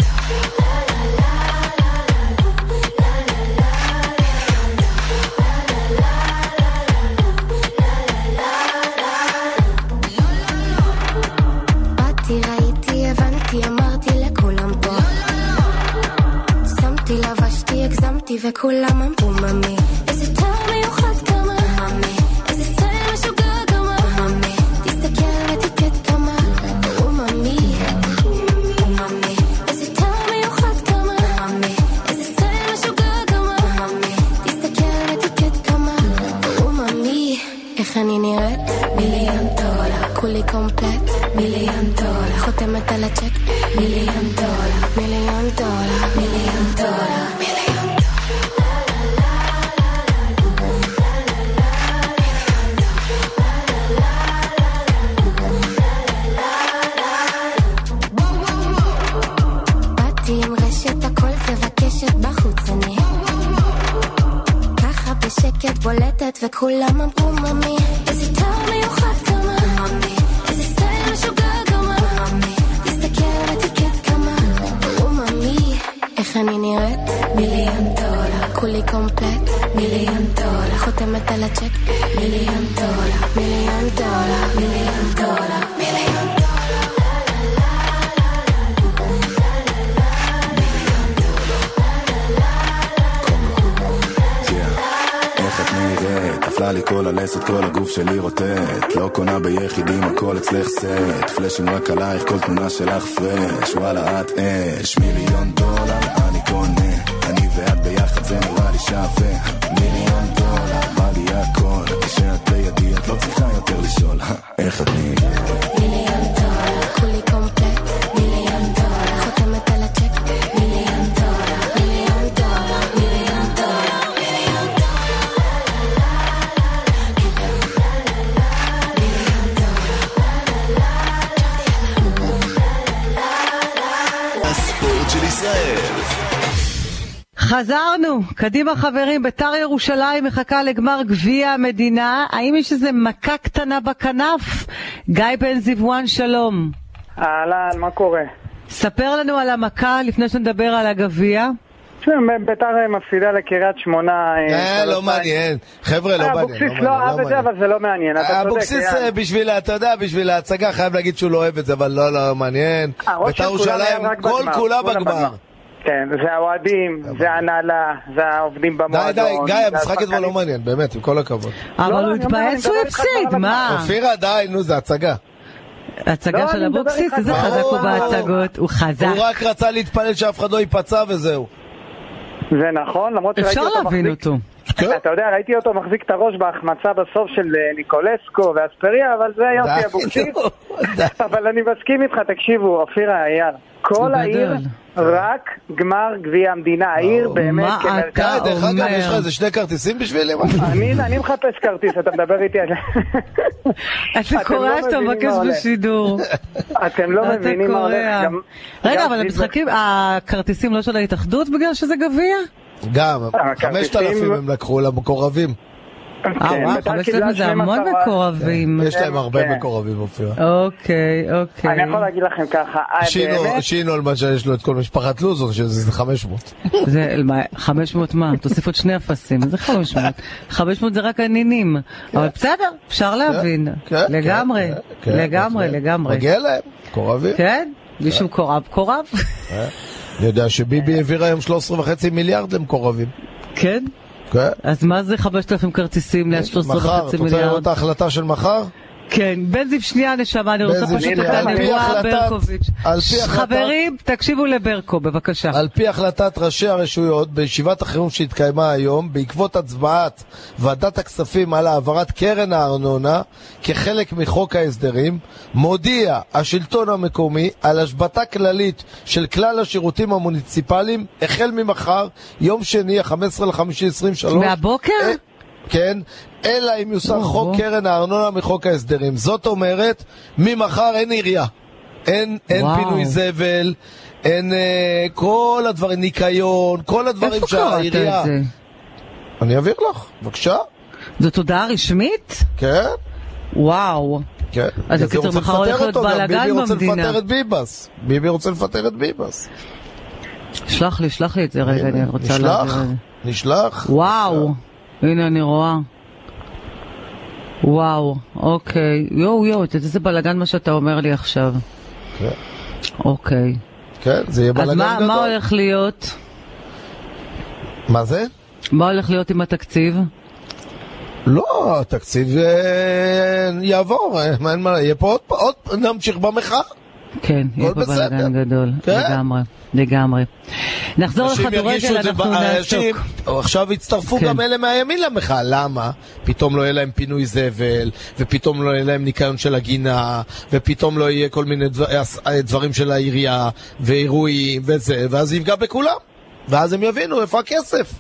N: דולר. באתי, ראיתי, הבנתי, אמרתי לכולם פה. שמתי, לבשתי, הגזמתי, וכולם אמרו מאמי. איזה טעם מיוחד כמה. מאמי. איזה סטייל משוגע כמה. מאמי. תסתכל על אטיקט כמה. אומאמי. אומאמי. איזה טעם מיוחד כמה. מאמי. איזה סטייל משוגע כמה. מאמי. תסתכל על אטיקט כמה. אומאמי. איך אני נראית? מיליון דולר. כולי קומפלט? מיליון דולר. חותמת על הצ'ק? מיליון דולר. מיליון דולר. מיליון דולר. מיליון דולר. באתי עם רשת, הכל תבקשת בחוץ אני. ככה בשקט בולטת וכולם אמרו ממי איזה טעם מיוחד כמה ממי איזה סטייל משוגע כמה ממי תסתכל על הטיקט כמה וממי איך אני נראית? מיליון דולר כולי קומפלט? מיליון דולר חותמת על הצ'ק? מיליון דולר מיליון דולר מיליון דולר מיליון דולר
O: איך את נראית? נפלה לי כל הלסת, כל הגוף שלי רוטט. לא קונה ביחידים, הכל אצלך סט. פלאשים רק עלייך, כל תמונה שלך פרש. וואלה, את אש. מיליון דולר, אני קונה. אני ואת ביחד, זה נראה לי שווה. מיליון דולר, בא לי הכל. כשאת לידי, את לא צריכה יותר לשאול. איך את נראית?
N: מיליון דולר, כולי קומפלט, מיליון דולר, חותמת על הצ'ק, מיליון דולר, מיליון דולר, מיליון דולר, מיליון דולר.
P: הספורט של ישראל.
B: חזרנו, קדימה חברים, ביתר ירושלים מחכה לגמר גביע המדינה. האם יש איזה מכה קטנה בכנף? גיא בן זיוואן, שלום.
M: אהלן, מה קורה?
B: ספר לנו על המכה לפני שנדבר על הגביע.
M: תשמע, ביתר אה, מפסידה לקריית שמונה. אה,
C: אה, לא
M: שלוש-שתיים.
C: מעניין. חבר'ה, לא
M: אה,
C: מעניין.
M: אבוקסיס לא אהב את זה, אבל זה לא מעניין. אתה צודק,
C: אבוקסיס,
M: אייל.
C: אה, בשביל, ה- אתה יודע, בשביל ההצגה חייב להגיד שהוא לא אוהב את זה, אבל לא, לא מעניין.
M: הראש
C: בית"ר
M: אה, של כולם היה
C: ירושלים,
M: רק
C: כל
M: בגמר,
C: כולה
M: כולם
C: בגמר.
M: כן, זה האוהדים, זה ההנהלה, זה העובדים
C: די,
M: במועדון.
C: די, גיא,
M: זה
C: המשחק אתמול לא
M: השחקנים.
C: מעניין, באמת, עם כל הכבוד.
M: לא, הוא אני אומר, התפעל אני שהוא מדבר איתך הפסיד, כבר על מה?
B: אה.
M: הגמר. לא,
C: אופירה, די, נו, זה הצגה.
B: הצגה של אבוקסיס, איזה חזק הוא בהצגות, הוא חזק.
C: הוא רק רצה להתפלל שאף אחד לא ייפצע וזהו.
M: זה נכון, למרות שראיתי
B: אפשר
M: אותו
B: להבין
M: מחזיק-
B: אותו. כן.
M: אתה יודע, ראיתי אותו מחזיק את הראש בהחמצה בסוף של אה, ניקולסקו ואספריה, אבל זה
C: די,
M: יופי אבוקסיס.
C: [laughs] נו,
M: אבל אני מסכים איתך, תקשיבו, אופירה, אייל. כל
C: גדול.
M: העיר, רק גמר גביע המדינה. העיר באמת כן,
B: אה,
C: די,
M: כמרכז.
C: דרך אגב, יש לך איזה שני כרטיסים בשבילי? מה?
M: אני- אני מחפש כרטיס, אתה מדבר איתי על...
B: [laughs] אתה
M: אתם לא
B: קורע שאתה
M: מבינים מה
B: מבקש
M: הולך.
B: בשידור.
M: אתם [laughs] לא
B: אתה
M: מבינים מה
B: קורע.
M: הולך. גם-
B: רגע,
M: גם
B: אבל
M: זיו-
B: המשחקים, הכרטיסים לא של ההתאחדות בגלל שזה גביע?
M: אה,
C: גם,
M: הכרטיסים-
C: 5,000 הם לקחו למקורבים. כן,
B: אה, וואו, חמש אלפים זה המון מקורבים.
C: יש להם הרבה
M: כן.
C: מקורבים, אופירה.
B: אוקיי, אוקיי.
M: אני יכול להגיד לכם ככה, אה, באמת,
C: שינו, שינו על מה שיש לו את כל משפחת לוזון, שזה 500.
B: זה מה, 500 מה? תוסיף עוד שני אפסים, זה 500.
C: [laughs]
B: 500 זה רק הנינים. אבל בסדר, אפשר להבין. לגמרי,
C: כן,
B: לגמרי,
C: בהחלט.
B: לגמרי.
C: מגיע להם, מקורבים.
B: כן? מישהו קורב קורב? [laughs]
C: אה, אני יודע
B: אה.
C: שביבי העביר היום 13.5 מיליארד למקורבים.
B: כן?
C: כן.
B: אז מה זה 5,000 כרטיסים ל-13.5
C: מחר, את רוצה לראות
B: מיליארד?
C: את ההחלטה של מחר?
B: כן, בן זיו שנייה נשמה, אני רוצה
C: בן זיו,
B: פשוט
C: שנייה,
B: את
C: על פי
B: הנבואה
C: החלטת-
B: ברקוביץ'.
C: על פי החלטת-
B: חברים, תקשיבו לברקו, בבקשה.
C: על פי החלטת ראשי הרשויות בישיבת החירום שהתקיימה היום, בעקבות הצבעת ועדת הכספים על העברת קרן הארנונה כחלק מחוק ההסדרים, מודיע השלטון המקומי על השבתה כללית של כלל השירותים המוניציפליים החל ממחר, יום שני, ה-15 למאי 23.
B: מהבוקר?
C: כן, אלא אם יוסר חוק קרן הארנונה מחוק ההסדרים. זאת אומרת, ממחר אין עירייה. אין, אין
B: וואו.
C: פינוי זבל, אין אה, כל הדברים, ניקיון, כל הדברים
B: איפה קראת את
C: שהעירייה...
B: זה?
C: אני אעביר לך, בבקשה.
B: זאת הודעה רשמית?
C: כן.
B: וואו.
C: כן.
B: אז
C: בגלל זה
B: בקיצור,
C: הוא רוצה
B: מחר הולך
C: לפטר
B: להיות
C: אותו, גם
B: בלאגן
C: ביבי רוצה
B: במדינה.
C: לפטר את ביבס. ביבי רוצה לפטר את ביבס.
B: שלח לי, שלח לי את זה רגע, אני רוצה
C: נשלח,
B: להעביר את זה.
C: נשלח.
B: וואו, הנה אני רואה. וואו, אוקיי. יואו יואו, אתה יודע איזה בלאגן מה שאתה אומר לי עכשיו.
C: כן.
B: אוקיי.
C: כן, זה יהיה
B: אז
C: בלאגן
B: מה
C: גדול.
B: מה הולך להיות?
C: מה זה?
B: מה הולך להיות עם התקציב?
C: לא, התקציב אה, יעבור, אה, אין מה, יהיה פה עוד פעם, עוד פעם, נמשיך במחאה.
B: כן, יהיה פה
C: הכל בסדר.
B: בלאגן גדול.
C: כן.
B: לגמרי, לגמרי. נחזור
C: אנשים ירגישו
B: לכדורגל,
C: את זה
B: לא, אנחנו
C: ב- אנשים-
B: נעסוק.
C: או עכשיו יצטרפו
B: כן.
C: גם אלה מהימין למחאה, למה? פתאום לא יהיה להם פינוי זבל, ופתאום לא יהיה להם ניקיון של הגינה, ופתאום לא יהיה כל מיני דבר- הס- דברים של העירייה, ואירועים, וזה, ואז זה יפגע בכולם. ואז הם יבינו איפה הכסף.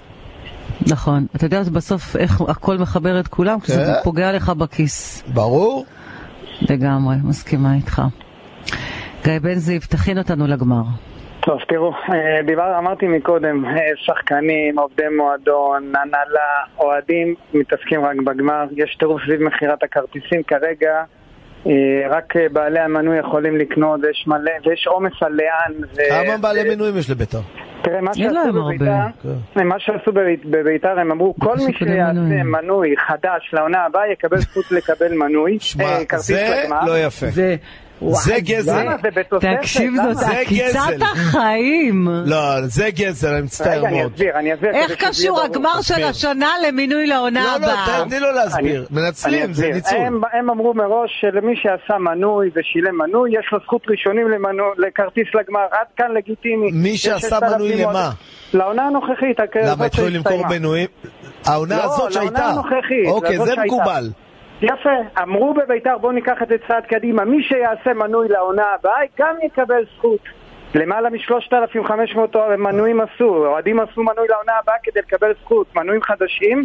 B: נכון. אתה יודע בסוף איך הכל מחבר את כולם, כשזה
C: כן.
B: פוגע לך בכיס.
C: ברור.
B: לגמרי, מסכימה איתך. גיא בן זיו, תכין אותנו לגמר.
M: טוב, תראו, אה, דיבר, אמרתי מקודם, אה, שחקנים, עובדי מועדון, הנהלה, אוהדים, מתעסקים רק בגמר. יש טירוף סביב מכירת הכרטיסים כרגע, אה, רק אה, בעלי המנוי יכולים לקנות, ויש מלא, ויש עומס על לאן. ו-
H: אה,
C: כמה בעלי מינויים יש לבית"ר?
M: תראה, מה
B: אין
M: שעשו
B: להם הרבה.
M: בביתר, כן. מה שעשו בבית- בביתר, הם אמרו, כל מי
B: פשוט אין
M: שיעשה
B: מנוי.
M: מנוי חדש לעונה הבאה יקבל זכות לקבל מנוי,
C: מה,
M: אה, כרטיס
C: זה
M: לגמר.
C: לא יפה.
B: זה
C: זה
H: לא
C: גזל.
H: נכון.
M: למה? זה בתוספת,
B: תקשיב,
M: למה?
B: זאת
C: זה
B: עקיצת
C: גזל.
B: החיים.
C: לא, זה גזל, אני מצטער מאוד.
M: רגע, אני אסביר, אני אסביר.
B: איך
M: כדי שזה יהיה
B: קשור
M: ברור.
B: הגמר של
C: תסביר.
B: השנה למינוי לעונה
C: לא, לא,
B: הבאה?
C: תני לו להסביר.
M: אני-
C: מנצלים,
M: אני
C: זה
M: אסביר.
C: ניצול.
M: הם, הם אמרו מראש שלמי שעשה מנוי ושילם מנוי, יש לו זכות ראשונים למנו, לכרטיס לגמר, עד כאן לגיטימי.
C: מי
M: יש
C: שעשה
M: 6,000
C: מנוי
M: עוד-
C: למה?
M: לעונה הנוכחית. הכ-
C: למה
M: זאת
C: התחילו למכור
M: שהסתיימה.
C: מנויים? העונה
M: לא,
C: הזאת שהייתה.
M: לעונה הנוכחית.
C: אוקיי,
M: לזאת
C: זה
M: שהייתה.
C: מקובל.
M: יפה, אמרו בביתר בואו ניקח את זה צעד קדימה, מי שיעשה מנוי לעונה הבאה גם יקבל זכות. למעלה מ-3,500 מנויים עשו, אוהדים עשו מנוי לעונה הבאה כדי לקבל זכות, מנויים חדשים,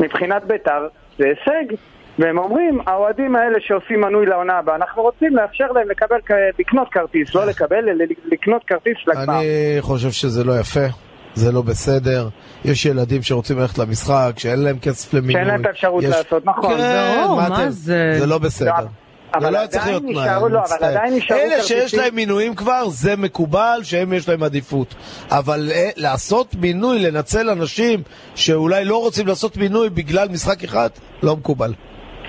M: מבחינת ביתר זה הישג. והם אומרים, האוהדים האלה שעושים מנוי לעונה הבאה, אנחנו רוצים לאפשר להם לקבל, כ- לקנות כרטיס, לא לקבל, אלא לקנות כרטיס לגמר.
C: אני חושב שזה לא יפה, זה לא בסדר. יש ילדים שרוצים ללכת למשחק, שאין להם כסף למינוי.
M: שאין להם את האפשרות
C: יש-
M: לעשות, נכון.
C: כן,
B: ברור, לא, מה
C: אתם?
B: זה?
C: זה לא בסדר. זה
M: אבל
C: לא היה צריך
M: עדיין
C: להיות תנאי,
M: נשארו-
C: אני
M: לא, אבל
C: מצטער.
M: עדיין נשארו
C: אלה שיש
M: כרטיסים-
C: להם מינויים כבר, זה מקובל שהם יש להם עדיפות. אבל אה, לעשות מינוי, לנצל אנשים שאולי לא רוצים לעשות מינוי בגלל משחק אחד, לא מקובל.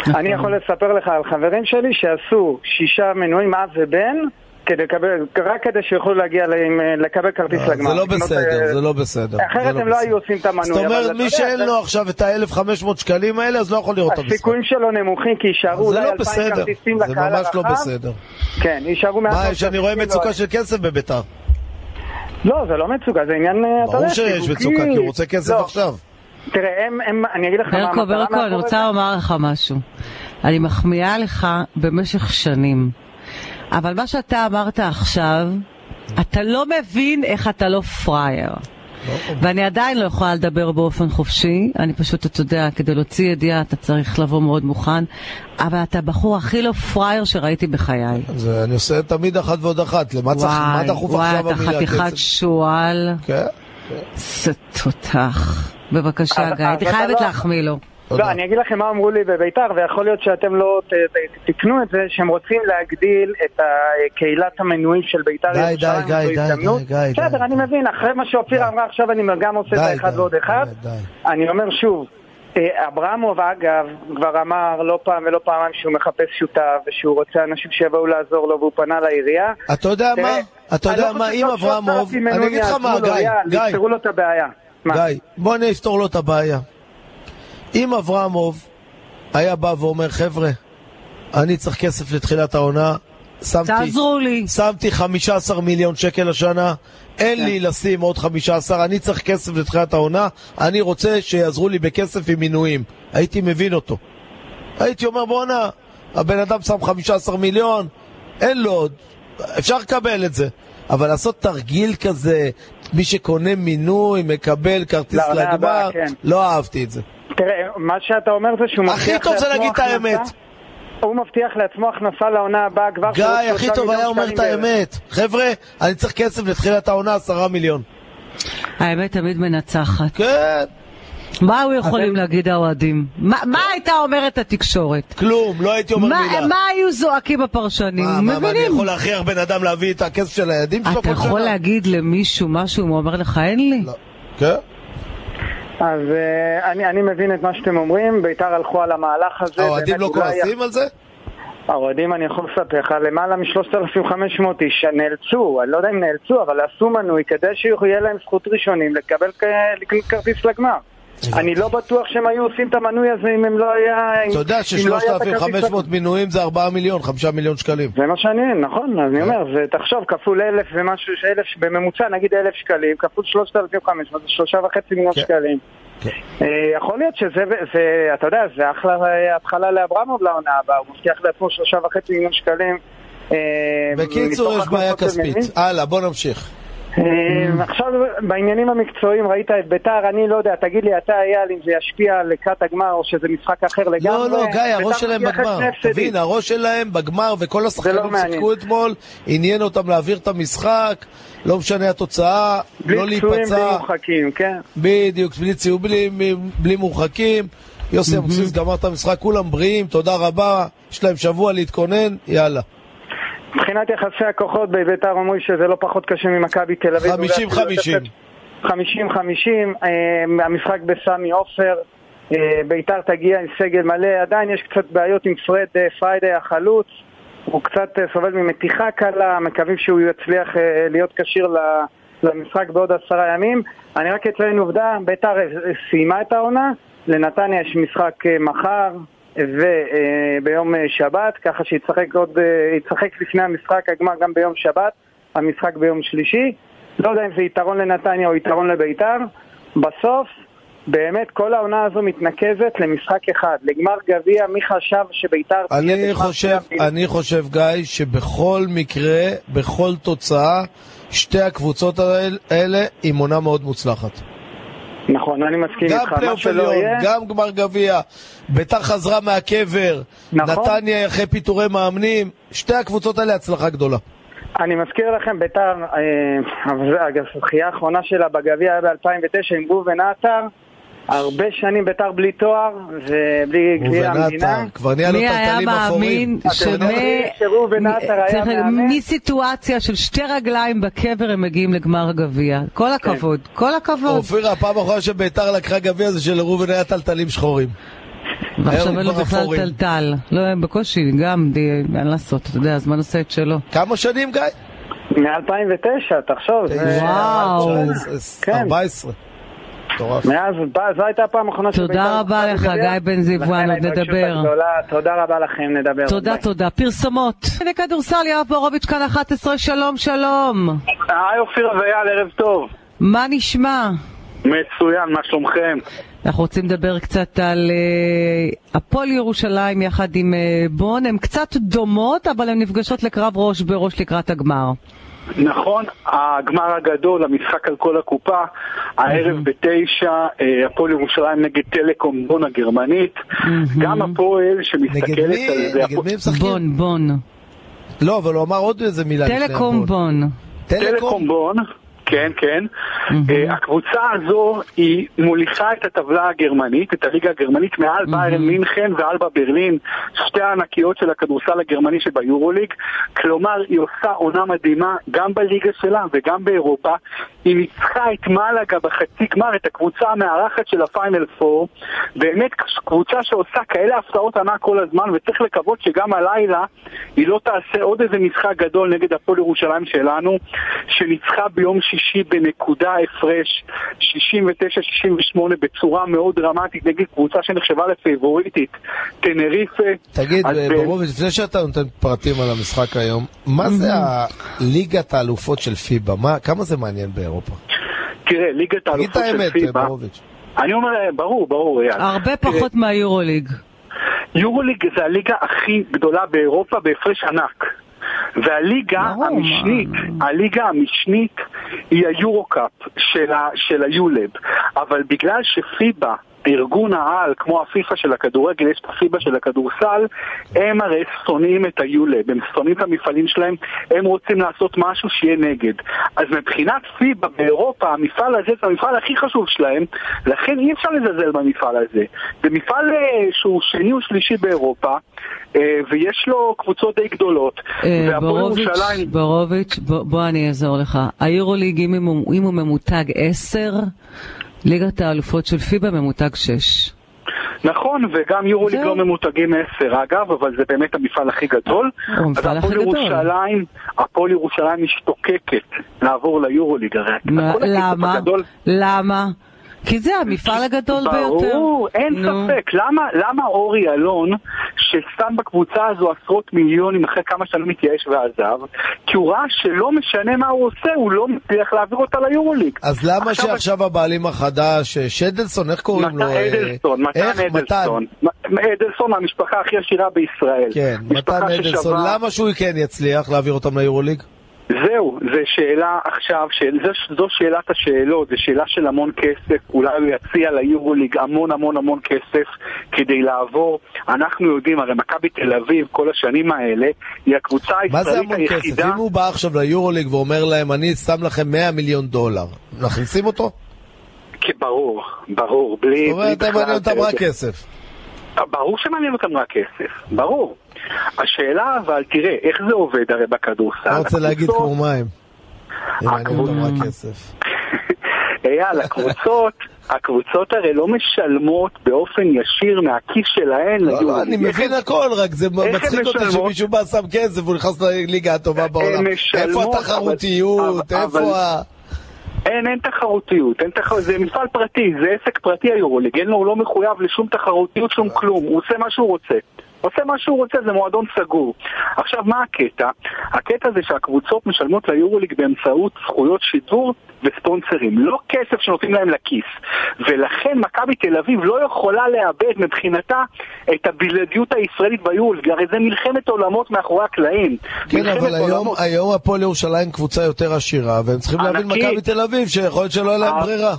M: אני יכול לספר לך על חברים שלי שעשו שישה מנויים אב ובן כדי לקבל, רק כדי שיוכלו להגיע ל- עם, אה, לקבל כרטיס
C: זה
M: לגמר.
C: לא
M: לקנות,
C: בסדר,
M: אה,
C: זה לא בסדר.
M: אחרת
C: זה
M: הם לא
C: בסדר.
M: היו עושים את המנוי.
C: זאת
M: אבל
C: אומרת,
M: אתה
C: מי
M: יודע,
C: שאין
M: זה-
C: לו עכשיו את ה-1,500 שקלים האלה, אז לא יכול לראות את המשחק.
M: הסיכויים שלו נמוכים כי יישארו
C: זה
M: אולי
C: לא
M: אלפיים
C: בסדר,
M: כרטיסים
C: זה
M: לקהל
C: ממש
M: הרחב.
C: לא בסדר.
M: כן, יישארו מעט
C: מה,
M: מאוד
C: שאני רואה
M: כרטיסים,
C: מצוקה
M: לא-
C: של כסף בביתר.
M: לא, זה לא מצוקה, זה עניין, אה, אתה יודע,
C: ברור שיש
M: שיווקי.
C: מצוקה, כי הוא רוצה כסף
M: לא.
C: עכשיו.
M: תראה, הם, הם, אני אגיד לך מה
B: ברקו,
M: המטרה
B: ברקו, אני
M: מאחורי זה.
B: רוצה לומר לך משהו. אני מחמיאה לך במשך שנים, אבל מה שאתה אמרת עכשיו, אתה לא מבין איך אתה לא פראייר. ואני עדיין לא יכולה לדבר באופן חופשי, אני פשוט, אתה יודע, כדי להוציא ידיעה אתה צריך לבוא מאוד מוכן, אבל אתה הבחור הכי לא פראייר שראיתי בחיי.
C: זה- אני עושה תמיד אחת ועוד אחת, למה צריך- מה דחוף
B: וואי,
C: עכשיו
B: אתה
C: המילה
B: חתיכת
C: כסף?
B: שועל.
C: כן.
M: לא,
B: זה תותח. בבקשה,
M: אבל-
B: גיא, הייתי
M: אבל אתה
B: חייבת
M: לא-
B: להחמיא לו.
M: לא, אני אגיד לכם מה אמרו לי בביתר, ויכול להיות שאתם לא ת- ת- תקנו את זה, שהם רוצים להגדיל את ה- קהילת המנויים של ביתר
C: די, די,
M: ירושלים,
C: די,
M: זו
C: די,
M: הזדמנות.
C: די, די,
M: בסדר, אני מבין, אחרי מה
C: לא.
M: שאופירה אמרה עכשיו, אני גם עושה את
C: די,
M: האחד
C: די,
M: ועוד אחד. אני אומר שוב, אה, אברמוב, אגב, כבר אמר לא פעם ולא פעמיים שהוא מחפש שותף, ושהוא רוצה אנשים שיבואו לעזור לו, והוא פנה לעירייה.
C: אתה יודע
M: תראה,
C: מה? אתה
M: אני
C: יודע
M: לא
C: מה,
M: חושב
C: אם
M: שעשרת
C: אברמוב...
M: אלפים
C: אני
M: מנויים
C: אגיד לך מה,
M: יעזרו לו,
C: גיא,
M: יאללה,
C: גיא.
M: יפתרו לו את הבעיה. מה?
C: גיא, בוא אני אפתור לו את הבעיה. אם אברמוב היה בא ואומר, חבר'ה, אני צריך כסף לתחילת העונה, שמתי,
B: תעזרו לי.
C: שמתי 15 מיליון שקל השנה,
M: כן.
C: אין לי לשים עוד 15, אני צריך כסף לתחילת העונה, אני רוצה שיעזרו לי בכסף עם מינויים. הייתי מבין אותו. הייתי אומר, בואנה, הבן אדם שם 15 מיליון, אין לו עוד, אפשר לקבל את זה. אבל לעשות תרגיל כזה, מי שקונה מינוי מקבל כרטיס
M: לעונה הבאה,
C: לגמר,
M: לא, כן.
C: לא אהבתי את זה.
M: תראה, מה שאתה אומר זה שהוא מבטיח
C: הכי טוב זה
M: לעצמו
C: להגיד את
M: הכנסה-
C: האמת.
M: הוא מבטיח לעצמו הכנסה לעונה הבאה כבר...
C: גיא,
M: שעוד
C: הכי
M: שלושה
C: טוב
M: מיליון
C: היה אומר
M: שקלים
C: את
M: בערך.
C: האמת. חבר'ה, אני צריך כסף לתחילת העונה, 10 מיליון.
B: האמת תמיד מנצחת.
C: כן.
B: מה היו יכולים להגיד האוהדים? מה מה הייתה אומרת התקשורת?
C: כלום, לא הייתי אומר
B: מה-
C: מילה.
B: מה היו זועקים הפרשנים?
C: מה, מה, מה, אני
B: מבינים.
C: יכול להכריח בן אדם להביא את הכסף של הילדים שלו?
B: אתה
C: כל
B: יכול
C: שנה?
B: להגיד למישהו משהו, אם הוא אומר לך אין לי?
C: כן.
M: אז אה, אני, אני מבין את מה שאתם אומרים, בית"ר הלכו על המהלך הזה.
C: האוהדים
M: באמת,
C: לא
M: אולי-
C: כועסים על זה?
M: האוהדים, אני יכול לספר לך, למעלה מ-3,500 איש נאלצו, אני לא יודע אם נאלצו, אבל עשו מנוי כדי שיהיה להם זכות ראשונים לקבל כ- לקנות כרטיס לגמר. אני לא בטוח שהם היו עושים את המנוי הזה אם הם לא היה... אם-
C: אתה יודע
M: אם לא היה את הכרטיס
C: ש-3,500
M: לגמר.
C: מינויים זה 4 מיליון, 5 מיליון שקלים.
M: זה מה שאני, נכון,
C: כן.
M: אז אני אומר, זה תחשוב, כפול אלף ומשהו, אלף, בממוצע נגיד אלף שקלים, כפול שלושת אלפים חמש מאות, זה שלושה וחצי מיליון
C: כן.
M: שקלים. אה, יכול להיות שזה, זה, אתה יודע, זה אחלה אה, התחלה לאברמוב לעונה הבאה, הוא מבטיח לעצמו שלושה וחצי מיליון שקלים. אה,
C: בקיצור,
M: מתוך
C: יש בעיה
M: הכנסות של
C: כספית. Mm.
M: מנויים.
C: הלאה, בוא נמשיך.
M: אה, עכשיו, בעניינים המקצועיים, ראית את ביתר, אני לא יודע, תגיד לי אתה, אייל, אם זה ישפיע לקראת הגמר או שזה משחק אחר לגמרי.
C: לא, לא, גיא,
M: ביתר
C: הראש שלהם
M: מבטיח את
C: בגמר.
M: שני הפסדים. לא
C: תבין, הראש שלהם בגמר, וכל השחקנים
M: מעניין.
C: שיחקו אתמול, עניין אותם להעביר את המשחק, לא משנה התוצאה, לא
M: בלי פצועים, בלי
C: להיפצע.
M: מורחקים, כן.
C: בדיוק, בלי ציוד, בלי, בלי מורחקים. יוסי אבוקסיס גמר את המשחק, כולם בריאים, תודה רבה, יש להם שבוע להתכונן, יאללה.
M: מבחינת יחסי הכוחות בביתר אומרים שזה לא פחות קשה ממכבי תל
C: 50-50.
M: אביב. אולי אפילו יותר 50-50, אה, המשחק בסמי עופר, אה, ביתר תגיע עם סגל מלא, עדיין יש קצת בעיות עם פרד אה, פריידי החלוץ, הוא קצת אה, סובל ממתיחה קלה, מקווים שהוא יצליח אה, להיות כשיר ל- למשחק בעוד עשרה ימים. אני רק אציין עובדה, ביתר אה, אה, סיימה את העונה, לנתניה יש משחק אה, מחר וביום אה, שבת, ככה שישחק עוד, אה, ישחק לפני המשחק הגמר גם ביום שבת, המשחק ביום שלישי. לא יודע אם זה יתרון לנתניה או יתרון לביתר. בסוף, באמת כל העונה הזו מתנקזת למשחק אחד, לגמר גביע, מי חשב שביתר תהיה
C: אני
M: בגמר
C: חושב,
M: גביע?
C: אני חושב, גיא, שבכל מקרה, בכל תוצאה, שתי הקבוצות האל- האלה עם עונה מאוד מוצלחת.
M: נכון, אני מסכים
C: גם
M: איתך, מה
C: פלייאוף
M: שלא
C: עליון,
M: יהיה.
C: גם גמר גביע, ביתר חזרה מהקבר,
M: נכון.
C: נתניה אחרי פיטורי מאמנים, שתי הקבוצות האלה הצלחה גדולה.
M: אני מזכיר לכם, ביתר, אה, הזכייה האחרונה שלה בגביע היה ב-2009 עם ראובן עטר, הרבה שנים ביתר בלי תואר ובלי גביע
C: ובנעתר,
M: המדינה.
C: כבר נהיה
B: מי היה מאמין
M: שראובן עטר היה
B: צריך להגיד,
M: מאמן?
B: מסיטואציה של שתי רגליים בקבר הם מגיעים לגמר גביע. כל הכבוד, כל הכבוד.
C: אופירה, הפעם האחרונה שביתר לקחה גביע זה שלראובן היה טלטלים שחורים.
B: ועכשיו אין לו
C: כבר
B: בכלל
C: אפורים.
B: טלטל. לא, הם בקושי, גם, די- אין לעשות, אתה יודע, הזמן עושה את שלו.
C: כמה שנים, גיא?
M: מ-2009, תחשוב. זה-
B: וואו.
M: כן.
C: 14.
M: מאז, ב- זו הייתה הפעם האחרונה
B: תודה
M: שבית"ר
B: רבה
M: זכתה
B: לך,
M: בגביע.
B: גיא בן זיו,
M: לכן
B: וואן, עוד
M: ההתרגשות
B: נדבר.
M: הגדולה. תודה רבה לכם, נדבר.
B: תודה,
M: ביי.
B: תודה. פרסומות. הנה כדורסל, יואב בורוביץ' כאן 11, שלום, שלום.
Q: היי אופירה ואייל, ערב טוב.
B: מה נשמע?
Q: מצוין, מה שלומכם?
B: אנחנו רוצים לדבר קצת על אה, הפועל ירושלים יחד עם אה, בון. הן קצת דומות, אבל הן נפגשות לקרב ראש בראש לקראת הגמר.
Q: נכון, הגמר הגדול, המשחק על כל הקופה, הערב
C: Mhm.
Q: בתשע, אה, הפועל ירושלים נגד טלקום בון הגרמנית. גם הפועל
C: Mhm. נגד
Q: שמסתכלת
C: מי?
Q: על זה,
C: נגד מי הם משחקים?
B: בון, בון.
C: לא, אבל הוא אמר עוד איזה מילה. לפני
B: טלקום
C: הבון.
B: בון.
Q: טלקום בון, כן, כן. אה, הקבוצה הזו היא מוליכה את הטבלה הגרמנית, את הליגה הגרמנית, מעל ביירן מינכן ואלבה ברלין, שתי הענקיות של הכדורסל הגרמני שביורוליג. כלומר, היא עושה עונה מדהימה גם בליגה שלה וגם באירופה. היא ניצחה את מלאגה בחצי גמר, את הקבוצה המארחת של הפיינל פור. באמת קבוצה שעושה כאלה הפתעות ענק כל הזמן, וצריך לקוות שגם הלילה היא לא תעשה עוד איזה משחק גדול נגד הפועל ירושלים שלנו, שניצחה ביום שישי בנקודה הפרש 69-68 בצורה מאוד דרמטית נגד קבוצה שנחשבה לפייבוריטית, טנריפה.
C: תגיד,
Q: אז, אה,
C: ברוביץ', לפני שאתה נותן פרטים על המשחק היום, מה זה הליגת האלופות של פיבה? מה- כמה זה מעניין באירופה?
Q: תראה, ליגת
C: תגיד את
Q: האלופות של
C: האמת,
Q: פיבה.
C: ברוביץ'.
Q: אני אומר, אה, ברור, ברור, אייל.
B: הרבה
Q: תראה,
B: פחות מהיורוליג.
Q: יורוליג זה הליגה הכי גדולה באירופה בהפרש ענק. והליגה המשנית, הליגה המשנית היא היורו-קאפ של, ה, של היולב. אבל בגלל שפיבה, ארגון העל, כמו הפיפ"א של הכדורגל, יש את הפיבה של הכדורסל, הם הרי שונאים את היולב, הם שונאים את המפעלים שלהם, הם רוצים לעשות משהו שיהיה נגד. אז מבחינת פיבה באירופה, המפעל הזה זה המפעל הכי חשוב שלהם, לכן אי אפשר לזלזל במפעל הזה. זה מפעל אה, שהוא שני או שלישי באירופה, אה, ויש לו קבוצות די גדולות.
B: אה,
Q: והפועל
B: בורוביץ',
Q: ירושלים...
B: בורוביץ', בוא בוא אני אעזור לך. היורוליג, אם הוא אם הוא ממותג 10, ליגת האלופות של פיבה ממותג 6.
Q: נכון, וגם יורוליג לא ממותגים 10 אגב, אבל זה באמת המפעל הכי גדול.
B: הוא המפעל
Q: אז הפועל
B: הכי גדול.
Q: ירושלים, הפועל ירושלים משתוקקת לעבור ליורוליג, הרי הכל הכסף
B: למה?
Q: הגדול.
B: למה? כי זה המפעל הגדול ביותר.
Q: ברור, אין
B: נו.
Q: ספק. למה, למה אורי אלון, ששם בקבוצה הזו עשרות מיליונים אחרי כמה שנים התייאש ועזב, כי הוא ראה שלא משנה מה הוא עושה, הוא לא מצליח להעביר אותה ליורוליג.
C: אז למה שעכשיו הבעלים החדש, אה, שדלסון, איך קוראים לו?
Q: מתן
C: אה,
Q: אדלסון, מתן
C: איך?
Q: אדלסון. מ- אדלסון מהמשפחה הכי עשירה בישראל.
C: כן,
Q: משפחה
C: מתן אדלסון,
Q: ששווה-
C: למה שהוא כן יצליח להעביר אותם ליורוליג?
Q: זהו, זו שאלה עכשיו, של, זו, זו שאלת השאלות, זו שאלה של המון כסף, אולי הוא יציע ליורוליג המון המון המון כסף כדי לעבור. אנחנו יודעים, הרי מכבי תל אביב כל השנים האלה, היא הקבוצה
C: מה זה
Q: הישראלית
C: המון כסף?
Q: היחידה...
C: אם הוא בא עכשיו ליורוליג ואומר להם, אני שם לכם 100 מיליון דולר, מכניסים אותו?
Q: כי ברור, ברור, בלי...
C: זאת אומרת,
Q: בלי
C: הם
Q: בכלל-
C: מעניין אותם רק כסף.
Q: ברור שמעניין אותם רק כסף, ברור. השאלה אבל, תראה, איך זה עובד הרי בכדורסל?
C: לא רוצה להגיד
Q: הקבוצות-
C: כמו מים. אם מעניין אותם רק
Q: הקבוצ-
C: כסף.
Q: אייל,
B: [laughs]
Q: הקבוצות, אה, הקבוצות הרי לא משלמות באופן ישיר מהכיס שלהן.
C: לא,
Q: ליורוליג.
C: לא, אני מבין הכל, רק זה
Q: איך הן
C: מצחיק אותי
Q: משלמות?
C: שמישהו בא שם כסף והוא נכנס לליגה הטובה בעולם. איפה
Q: משלמות,
C: התחרותיות?
Q: אבל- אבל-
C: איפה ה...
Q: אין, אין תחרותיות, אין תחר... זה מפעל פרטי, זה עסק פרטי היורוליג, אין לו, הוא לא מחויב לשום תחרותיות, שום כלום, הוא עושה מה שהוא רוצה. עושה מה שהוא רוצה, זה מועדון סגור. עכשיו, מה הקטע? הקטע זה שהקבוצות משלמות ליורוליג באמצעות זכויות שידור וספונסרים, לא כסף שנותנים להם לכיס. ולכן מכבי תל אביב לא יכולה לאבד מבחינתה את הבלעדיות הישראלית ביורוליג, הרי זה מלחמת עולמות מאחורי הקלעים.
C: כן,
Q: מלחמת
C: אבל היום-
Q: עולמות.
C: היום הפועל ירושלים קבוצה יותר עשירה, והם צריכים להבין
Q: ענקית.
C: מכבי תל אביב, שיכול להיות שלא יהיה להם
Q: אה,
C: ברירה.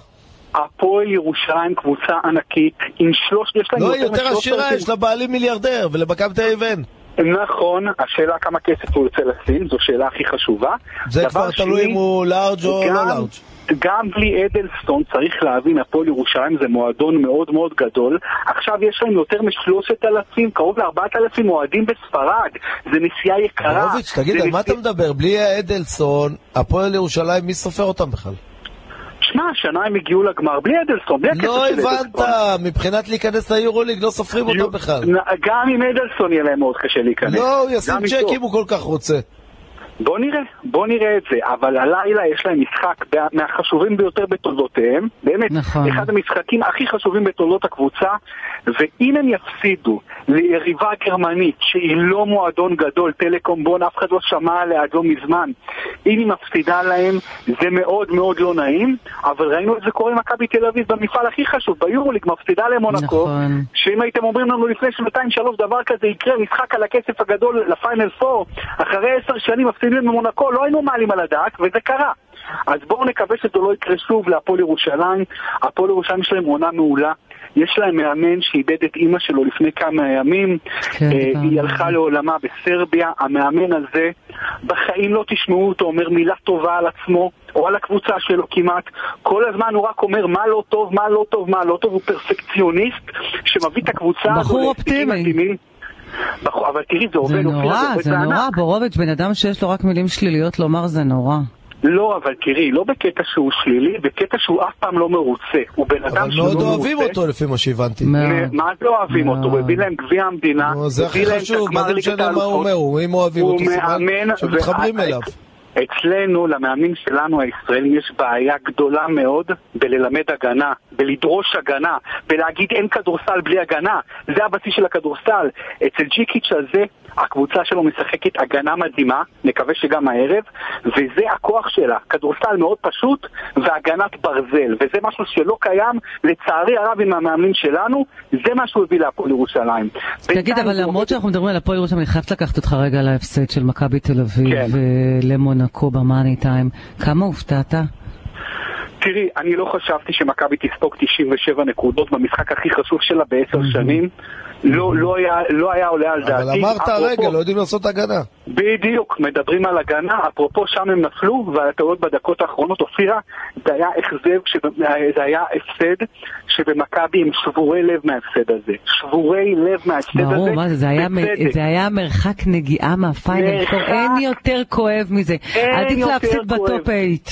Q: הפועל ירושלים קבוצה ענקית עם שלוש... יש להם
C: לא, היא יותר
Q: משלוש
C: עשירה,
Q: אלפים-
C: יש לה בעלים מיליארדר, ולמכבי תל אביב אין.
Q: נכון, השאלה כמה כסף הוא ירצה לשים, זו שאלה הכי חשובה.
C: זה
Q: דבר
C: כבר תלוי
Q: שני,
C: אם הוא לארג' או
Q: גם-
C: לא לארג'.
Q: גם בלי אדלסטון צריך להבין, הפועל ירושלים זה מועדון מאוד מאוד גדול. עכשיו יש להם יותר מ-3,000, קרוב ל-4,000 אוהדים בספרד. זה נסיעה יקרה.
C: הורוביץ', תגיד,
Q: אה, זה
C: על מה אתה
Q: נסיעה-
C: מדבר? בלי אדלסון, הפועל ירושלים, מי סופר אותם
Q: [laughs]
C: בכלל?
Q: שמע, השנה הם הגיעו לגמר בלי אדלסון, בלי הכסף
C: לא
Q: של אדלסון.
C: הבנת, מבחינת להיכנס ליורוליג לא סופרים אותם בכלל.
Q: נ- גם עם אדלסון יהיה להם מאוד קשה להיכנס.
C: לא, הוא ישים
Q: גם
C: צ'ק
Q: איתו.
C: אם הוא כל כך רוצה.
Q: בוא נראה, בוא נראה את זה. אבל הלילה יש להם משחק בה- מהחשובים ביותר בתולדותיהם. באמת,
B: נכון.
Q: אחד המשחקים הכי חשובים בתולדות הקבוצה. ואם הם יפסידו ליריבה גרמנית שהיא לא מועדון גדול, טלקום בון, אף אחד לא שמע עליה עד לא מזמן, אם היא מפסידה להם, זה מאוד מאוד לא נעים. אבל ראינו את זה קורה עם מכבי תל אביב במפעל הכי חשוב, ביורוליג, מפסידה למונקו.
B: נכון.
Q: שאם הייתם אומרים לנו לפני שנתיים שלוש דבר כזה יקרה, משחק על הכסף הגדול לפיינל פור, אחרי עשר שנים מפסידים במונקו, לא היינו מעלים על הדעת, וזה קרה. אז בואו נקווה שזה לא יקרה שוב להפועל ירושלים. הפועל ירושלים שלהם עונה מעולה. יש להם מאמן שאיבד את אימא שלו לפני כמה ימים.
B: כן,
Q: אה, היא
B: דיברנו.
Q: הלכה לעולמה בסרביה. המאמן הזה, בחיים לא תשמעו אותו אומר מילה טובה על עצמו. או על הקבוצה שלו כמעט, כל הזמן הוא רק אומר מה לא טוב, מה לא טוב, מה לא טוב, הוא פרפקציוניסט שמביא את הקבוצה הזו
B: בחור
Q: להישגים
B: אופטימי.
Q: מדהימים. בחור- אבל תראי, זה עובד,
B: זה
Q: אופיר,
B: נורא,
Q: עובד
B: זה
Q: בענק.
B: נורא, בורוביץ', בן אדם שיש לו רק מילים שליליות לומר זה נורא.
Q: לא, אבל תראי, לא בקטע שהוא שלילי, בקטע שהוא אף פעם לא מרוצה. הוא בן אדם
C: אבל
Q: שהוא לא
C: מאוד
Q: מרוצה.
C: אוהבים אותו לפי מה שהבנתי.
Q: מ- אה, מה זה אוהבים אותו? הוא הביא להם גביע המדינה,
C: נו, לא, זה הכי
Q: הביא להם את
C: חשוב,
Q: הגמר
C: מה זה
Q: ליגת
C: משנה מה הוא
Q: האלופות.
C: אומר, הוא- אם אוהבים
Q: הוא
C: אותו, סימן
Q: מאמן,
C: שמתחברים
Q: ואת-
C: אליו.
Q: אצלנו, למאמנים שלנו הישראלים, יש בעיה גדולה מאוד בללמד הגנה, בלדרוש הגנה, בלהגיד אין כדורסל בלי הגנה. זה הבסיס של הכדורסל. אצל ג'יקיץ' הזה, הקבוצה שלו משחקת הגנה מדהימה, נקווה שגם הערב, וזה הכוח שלה. כדורסל מאוד פשוט והגנת ברזל, וזה משהו שלא קיים, לצערי הרב, עם המאמנים שלנו, זה מה שהוא הביא להפועל ירושלים.
B: תגיד, אבל למרות שאנחנו מדברים על הפועל ירושלים, אני חייבת לקחת אותך רגע להפסד של מכבי תל אביב
Q: כן.
B: אה, למונקו במאני טיים. כמה הופתעת?
Q: תראי, אני לא חשבתי שמכבי תספוג 97 נקודות במשחק הכי חשוב שלה בעשר שנים. לא, לא, היה, לא היה עולה על דעתי.
C: אבל אמרת
Q: אפרופו-
C: הרגע, לא יודעים לעשות הגנה.
Q: בדיוק, מדברים על הגנה, אפרופו שם הם נפלו, ועל הטעויות בדקות האחרונות, אופירה, זה היה החזב, שב- זה היה הפסד שבמכבי הם שבורי לב מההפסד הזה. שבורי לב מההפסד הזה.
B: ברור, מה זה, זה היה מ-
Q: בצדק.
B: זה היה מרחק נגיעה מהפיינל
Q: מרחק.
B: פור, אין יותר כואב מזה.
Q: אין
B: עדיף
Q: יותר
B: להפסיד
Q: כואב.
B: בטופ אייט.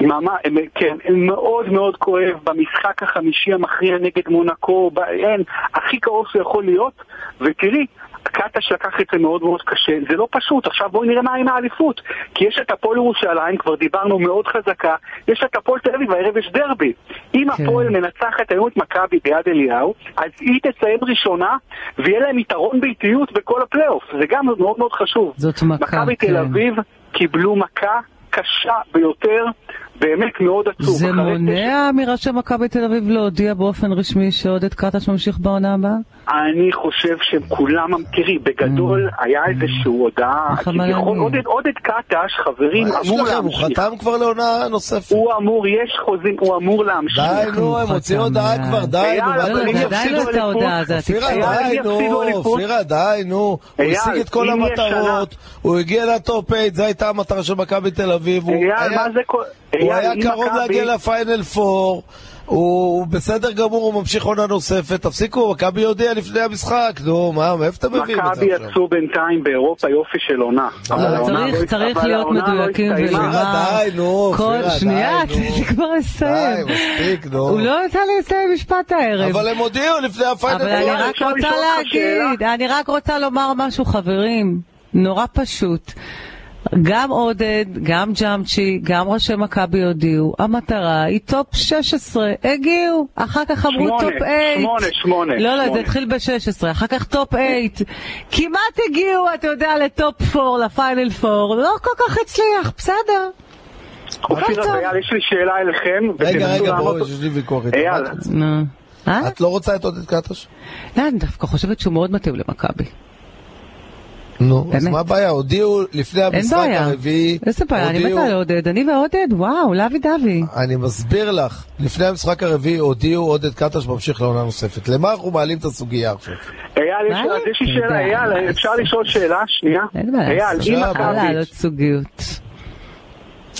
Q: ממש, כן, מאוד מאוד כואב במשחק החמישי המכריע נגד מונקו, ב- אין, הכי קרוב שיכול להיות, ותראי, קטש לקח את זה מאוד מאוד קשה, זה לא פשוט, עכשיו בואי נראה מה עם האליפות, כי יש את הפועל ירושלים, כבר דיברנו מאוד חזקה, יש את הפועל תל אביב, הערב יש דרבי. אם
B: כן.
Q: הפועל מנצחת היום את מכבי ביד אליהו, אז היא תסיים ראשונה, ויהיה להם יתרון באיטיות בכל הפלייאוף, זה גם מאוד מאוד חשוב.
B: זאת מכה,
Q: מכבי
B: כן.
Q: תל אביב קיבלו מכה קשה ביותר, באמת מאוד עצוב.
B: זה
Q: אחרי
B: מונע אמירה של מכבי תל אביב להודיע באופן רשמי שעודד קטש ממשיך בעונה הבאה?
Q: אני חושב שהם כולם, תראי, בגדול
B: Mm.
Q: היה איזושהי הודעה,
B: איך אמר
Q: כביכול,
B: לנו?
Q: עודד- עודד קטש, חברים,
C: מה יש
Q: אמור
C: לכם? הוא
Q: להמשיך.
C: חתם כבר לעונה נוספת.
Q: הוא אמור, יש חוזים, הוא אמור להמשיך.
C: די, נו, הם הוציאו הודעה כבר, אה, די, נו,
Q: אייל, אה,
B: לא,
Q: אבל
C: מה
Q: אם
C: אתם-
Q: יפסידו אליפות-
C: אופירה,
Q: אייל, אם
C: די,
Q: יפסידו
C: נו,
Q: אליפות-
C: אופירה, די, נו. הוא
Q: אייל,
C: השיג את כל
Q: אם יש
C: המטרות, הוא הגיע לטופ 8, זו הייתה המטרה של מכבי תל אביב. הוא
Q: אייל,
C: היה-
Q: מה זה כל-
C: הוא
Q: אייל,
C: היה
Q: אם
C: קרוב
Q: מכבי-
C: להגיע לפיינל 4. הוא בסדר גמור, הוא ממשיך עונה נוספת, תפסיקו, מכבי יודיע לפני המשחק, נו, מה, מאיפה אתם מביאים את זה
Q: מכבי
C: עכשיו?
Q: יצאו בינתיים באירופה יופי של עונה. אבל
B: אבל
Q: העונה לא-
B: צריך, צריך
Q: אבל
B: להיות
Q: העונה לא
B: מדויקים
Q: הסתיימה.
B: ולומר,
C: אה, די, נו,
B: כל
C: אופירה,
B: שנייה,
C: די, נו.
B: [laughs] תן לי כבר לסיים.
C: די, מספיק, נו.
B: הוא לא נתן לי לסיים משפט הערב.
C: אבל הם הודיעו לפני הפיינל.
B: אבל אני
Q: לא-
C: פור.
B: רק רוצה להגיד, אני רק רוצה לומר משהו, חברים, נורא פשוט. גם עודד, גם ג'אמצ'י, גם ראשי מכבי הודיעו, המטרה היא טופ 16, הגיעו, אחר כך אמרו
Q: שמונה,
B: טופ 8.
Q: שמונה, שמונה,
B: לא, לא, זה
Q: שמונה.
B: התחיל ב-16, אחר כך טופ 8. כמעט הגיעו, אתה יודע, לטופ 4, לפיינל 4, לא כל כך הצליח, בסדר.
Q: אופירה ואייל, יש לי שאלה אליכם.
C: רגע,
Q: ותנסו
C: רגע,
Q: לענות-
C: בואו, יש לי ויכוח איתו.
Q: אייל,
B: נו. אה?
C: את לא רוצה את עודד קטש?
B: לא, אני דווקא חושבת שהוא מאוד מתאים למכבי.
C: נו, אז מה הבעיה? הודיעו לפני המשחק
B: בעיה.
C: הרביעי...
B: איזה בעיה, אני
C: הודיעו-
B: מתה על עודד, אני ועודד, וואו, לוי דווי.
Q: אה,
C: אני מסביר לך, לפני המשחק הרביעי הודיעו עודד קטש ממשיך לעונה נוספת. למה אנחנו מעלים את הסוגיה עכשיו?
Q: אייל, יש- אז יש לי שאלה, אייל, אה, אפשר לשאול שאלה? שנייה. אייל, אם מכבי
B: לעלות זוגיות.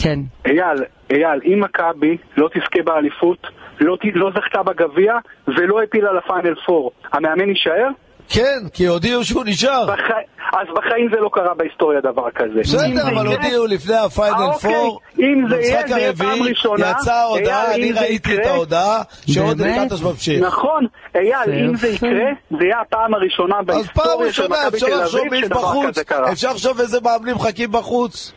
B: כן.
Q: אייל, אייל, אם מכבי לא תזכה באליפות, לא, ת- לא זכתה בגביע ולא הפילה לפיינל 4, המאמן יישאר?
C: כן, כי הודיעו שהוא נשאר.
Q: אז בחיים זה לא קרה בהיסטוריה דבר כזה. אם זה
C: בסדר, אבל
Q: יקרה-
C: הודיעו לפני הפיינל
Q: אוקיי.
C: פור,
Q: אם זה יהיה,
C: במשחק
Q: זה יהיה פעם
C: הרביעי,
Q: ראשונה.
C: יצאה ההודעה,
Q: אייל,
C: אני
Q: אם זה
C: ראיתי את
Q: יקרה-
C: ההודעה, שעודד קטש ממשיך.
Q: נכון, אייל,
C: זה
Q: אם זה
C: כן. יפה.
Q: יקרה, זה יהיה הפעם הראשונה
C: אז פעם
Q: בהיסטוריה של
C: ראשונה,
Q: מכבי
C: אפשר
Q: תל
C: לחשוב
Q: אביב
C: מי
Q: שדבר
C: בחוץ,
Q: כזה קרה.
C: אפשר לחשוב איזה מאמנים מחכים בחוץ.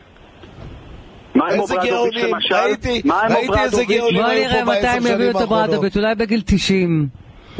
Q: מה עם
C: איזה
Q: אוברדוביץ'
C: גאונים,
Q: למשל?
C: ראיתי,
Q: מה עם
C: ראיתי איזה
Q: אוברדוביץ'?
C: גאונים
B: בוא
C: היו
B: נראה
C: פה
B: מתי
C: בעשר
B: הם יביאו
C: שנים
B: את
C: האחרונות.
B: אוברדוביץ', אולי בגיל 90.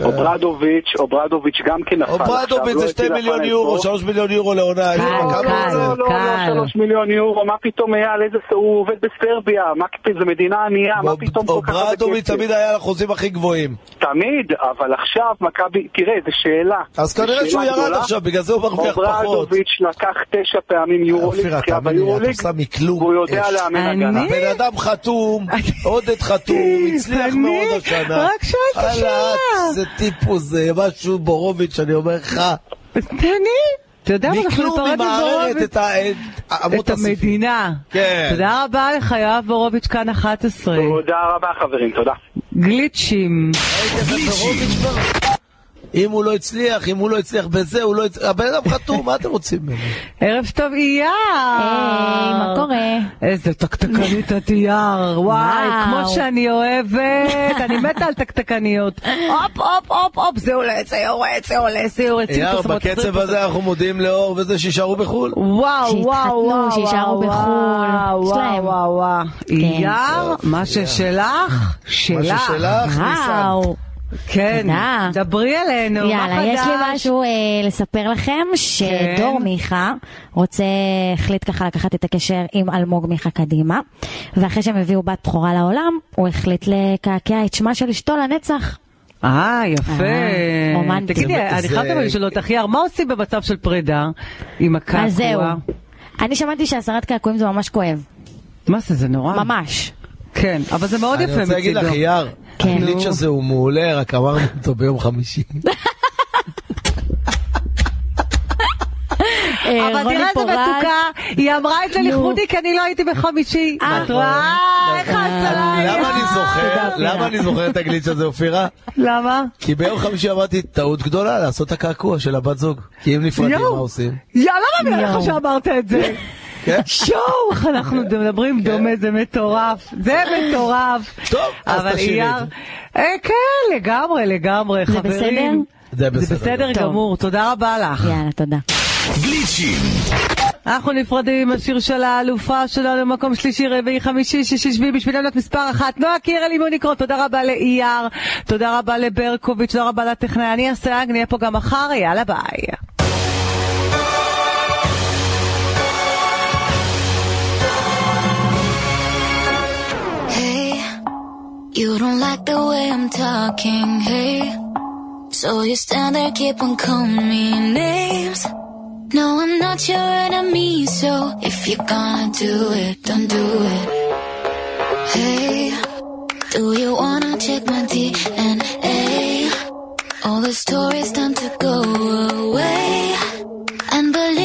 Q: אוברדוביץ', אוברדוביץ' גם כן נפל.
C: אוברדוביץ'
Q: עכשיו,
C: זה
Q: לא
C: 2
Q: הפיל
C: מיליון
Q: לפיינל
C: יורו,
Q: פור.
C: 3 מיליון יורו לעונה.
Q: לא,
C: היו מכבי
Q: לא,
C: זה-
Q: לא, לא, לא, שלוש מיליון יורו, מה פתאום אייל, איזה, הוא עובד בסרביה, מה פתאום, זו מדינה ענייה, מה פתאום כל כך הרבה
C: אוברדוביץ'
Q: כסף?
C: תמיד היה על החוזים הכי גבוהים.
Q: תמיד, אבל עכשיו מכבי, תראה, זו שאלה.
C: אז
Q: זו
C: כנראה
Q: שאלה
C: שהוא ירד
Q: גדולה.
C: עכשיו, בגלל זה הוא מרוויח פחות.
Q: אוברדוביץ' לקח תשע פעמים יורוליג,
C: אופירה,
Q: זכייה
C: תאמין לי, את
Q: ביורוליג,
C: עושה מכלום.
Q: והוא יודע
C: אש.
Q: לאמן
B: [laughs]
Q: הגנה.
C: הבן אדם חתום, עודד חתום, הצליח מאוד השנה.
B: רק שאלתי
C: הלאה,
B: שאלה.
C: זה טיפוס, זה משהו בורוביץ', אני אומר לך.
B: תעני. אתה יודע מה, אנחנו
C: מכלום
B: נפרד
C: היא מערערת
B: מבורוביץ'.
C: את ה- את אמות
B: את המדינה.
C: כן.
B: תודה רבה לך, יואב בורוביץ', כאן 11.
Q: תודה רבה חברים, תודה.
B: גליצ'ים.
C: אם הוא לא הצליח, אם הוא לא הצליח בזה, הוא לא הצליח. הבן אדם חתום, מה אתם רוצים ממנו?
B: ערב טוב אייר!
R: היי, מה קורה?
B: איזה תקתקנית את אייר, וואי,
R: וואו.
B: כמו שאני אוהבת, אני מתה על תקתקניות. הופ, הופ, הופ, הופ, זה עולה, זה יורד, זה עולה, זה יורד. שים
C: יאר,
B: פרסומות,
C: בקצב
B: פרסומות.
C: הזה אנחנו מודיעים לאור וזה שיישארו בחו"ל.
B: וואו, וואו, וואו,
R: שיישארו
B: וואו,
R: בחו"ל.
B: וואו,
R: יש להם. כן.
B: וואו, וואו, וואו. אייר, מה ששלך, שלך.
C: ששלך,
R: וואו.
B: כן,
R: תודה.
B: דברי אלינו, מה חדש? כן.
R: יאללה, יש לי משהו אה, לספר לכם, שדור מיכה רוצה, החליט ככה לקחת את הקשר עם אלמוג מיכה קדימה, ואחרי שהם הביאו בת בכורה לעולם, הוא החליט לקעקע את שמה של אשתו לנצח.
B: אה, יפה.
R: אה, רומנטי.
B: תגידי,
R: זה-
B: אני חייבת אבל לשאול אותך, יאר, מה עושים במצב של פרידה עם הקעקוע?
R: אה, אז זהו. אני שמעתי שהסרת קעקועים זה ממש כואב.
B: מה זה, זה נורא?
R: ממש.
B: כן, אבל זה מאוד יפה
C: אני
B: מצידו.
C: רוצה להגיד לך, יאר,
B: כן.
C: הגליץ'
B: נו.
C: הזה הוא מעולה, רק אמרנו אותו ביום חמישי.
R: אה,
B: אבל
R: רוני
B: תראה איזה
R: פורז.
B: מתוקה, היא אמרה את זה
R: נו. אה,
B: לכבודי כי אני לא הייתי בחמישי. את רואה? איך ההצלה היא?
C: נכון. למה אני זוכר?
B: תודה, אופירה.
C: למה אני זוכר את הגליץ' הזה, אופירה?
B: למה?
C: כי ביום חמישי אמרתי, טעות גדולה לעשות את הקעקוע של הבת זוג. כי אם נפרדים, מה
B: יואו.
C: עושים?
B: יא, לא מאמינה לך
R: יואו.
B: שאמרת את זה.
C: כן?
B: שואו, איך
C: [laughs]
B: אנחנו מדברים דומה, זה מטורף. זה מטורף.
C: טוב, אז
B: אבל
C: תשאירי את
B: אייר- אה, כן, לגמרי, לגמרי,
R: זה
B: חברים.
C: זה
B: זה
C: בסדר.
B: בסדר
R: טוב.
B: גמור, תודה רבה לך.
R: יאללה, תודה.
A: גליצ'ים,
B: אנחנו נפרדים עם השיר של האלופה שלנו, מקום שלישי, רביעי, חמישי, שישי, שביעי, בשביל להיות מספר אחת. נועה קירל, אימון לקרוא, תודה רבה לאייר, תודה רבה לברקוביץ', תודה רבה לטכנאי. אני אסייג, נהיה פה גם מחר, יאללה ביי.
J: Hey, you don't like the way I'm talking, hey. So you stand there, keep on calling me names. No, I'm not your enemy, so if you're gonna do it, don't do it. Hey, do you wanna check my DNA? All the stories time to go away. And believe oh.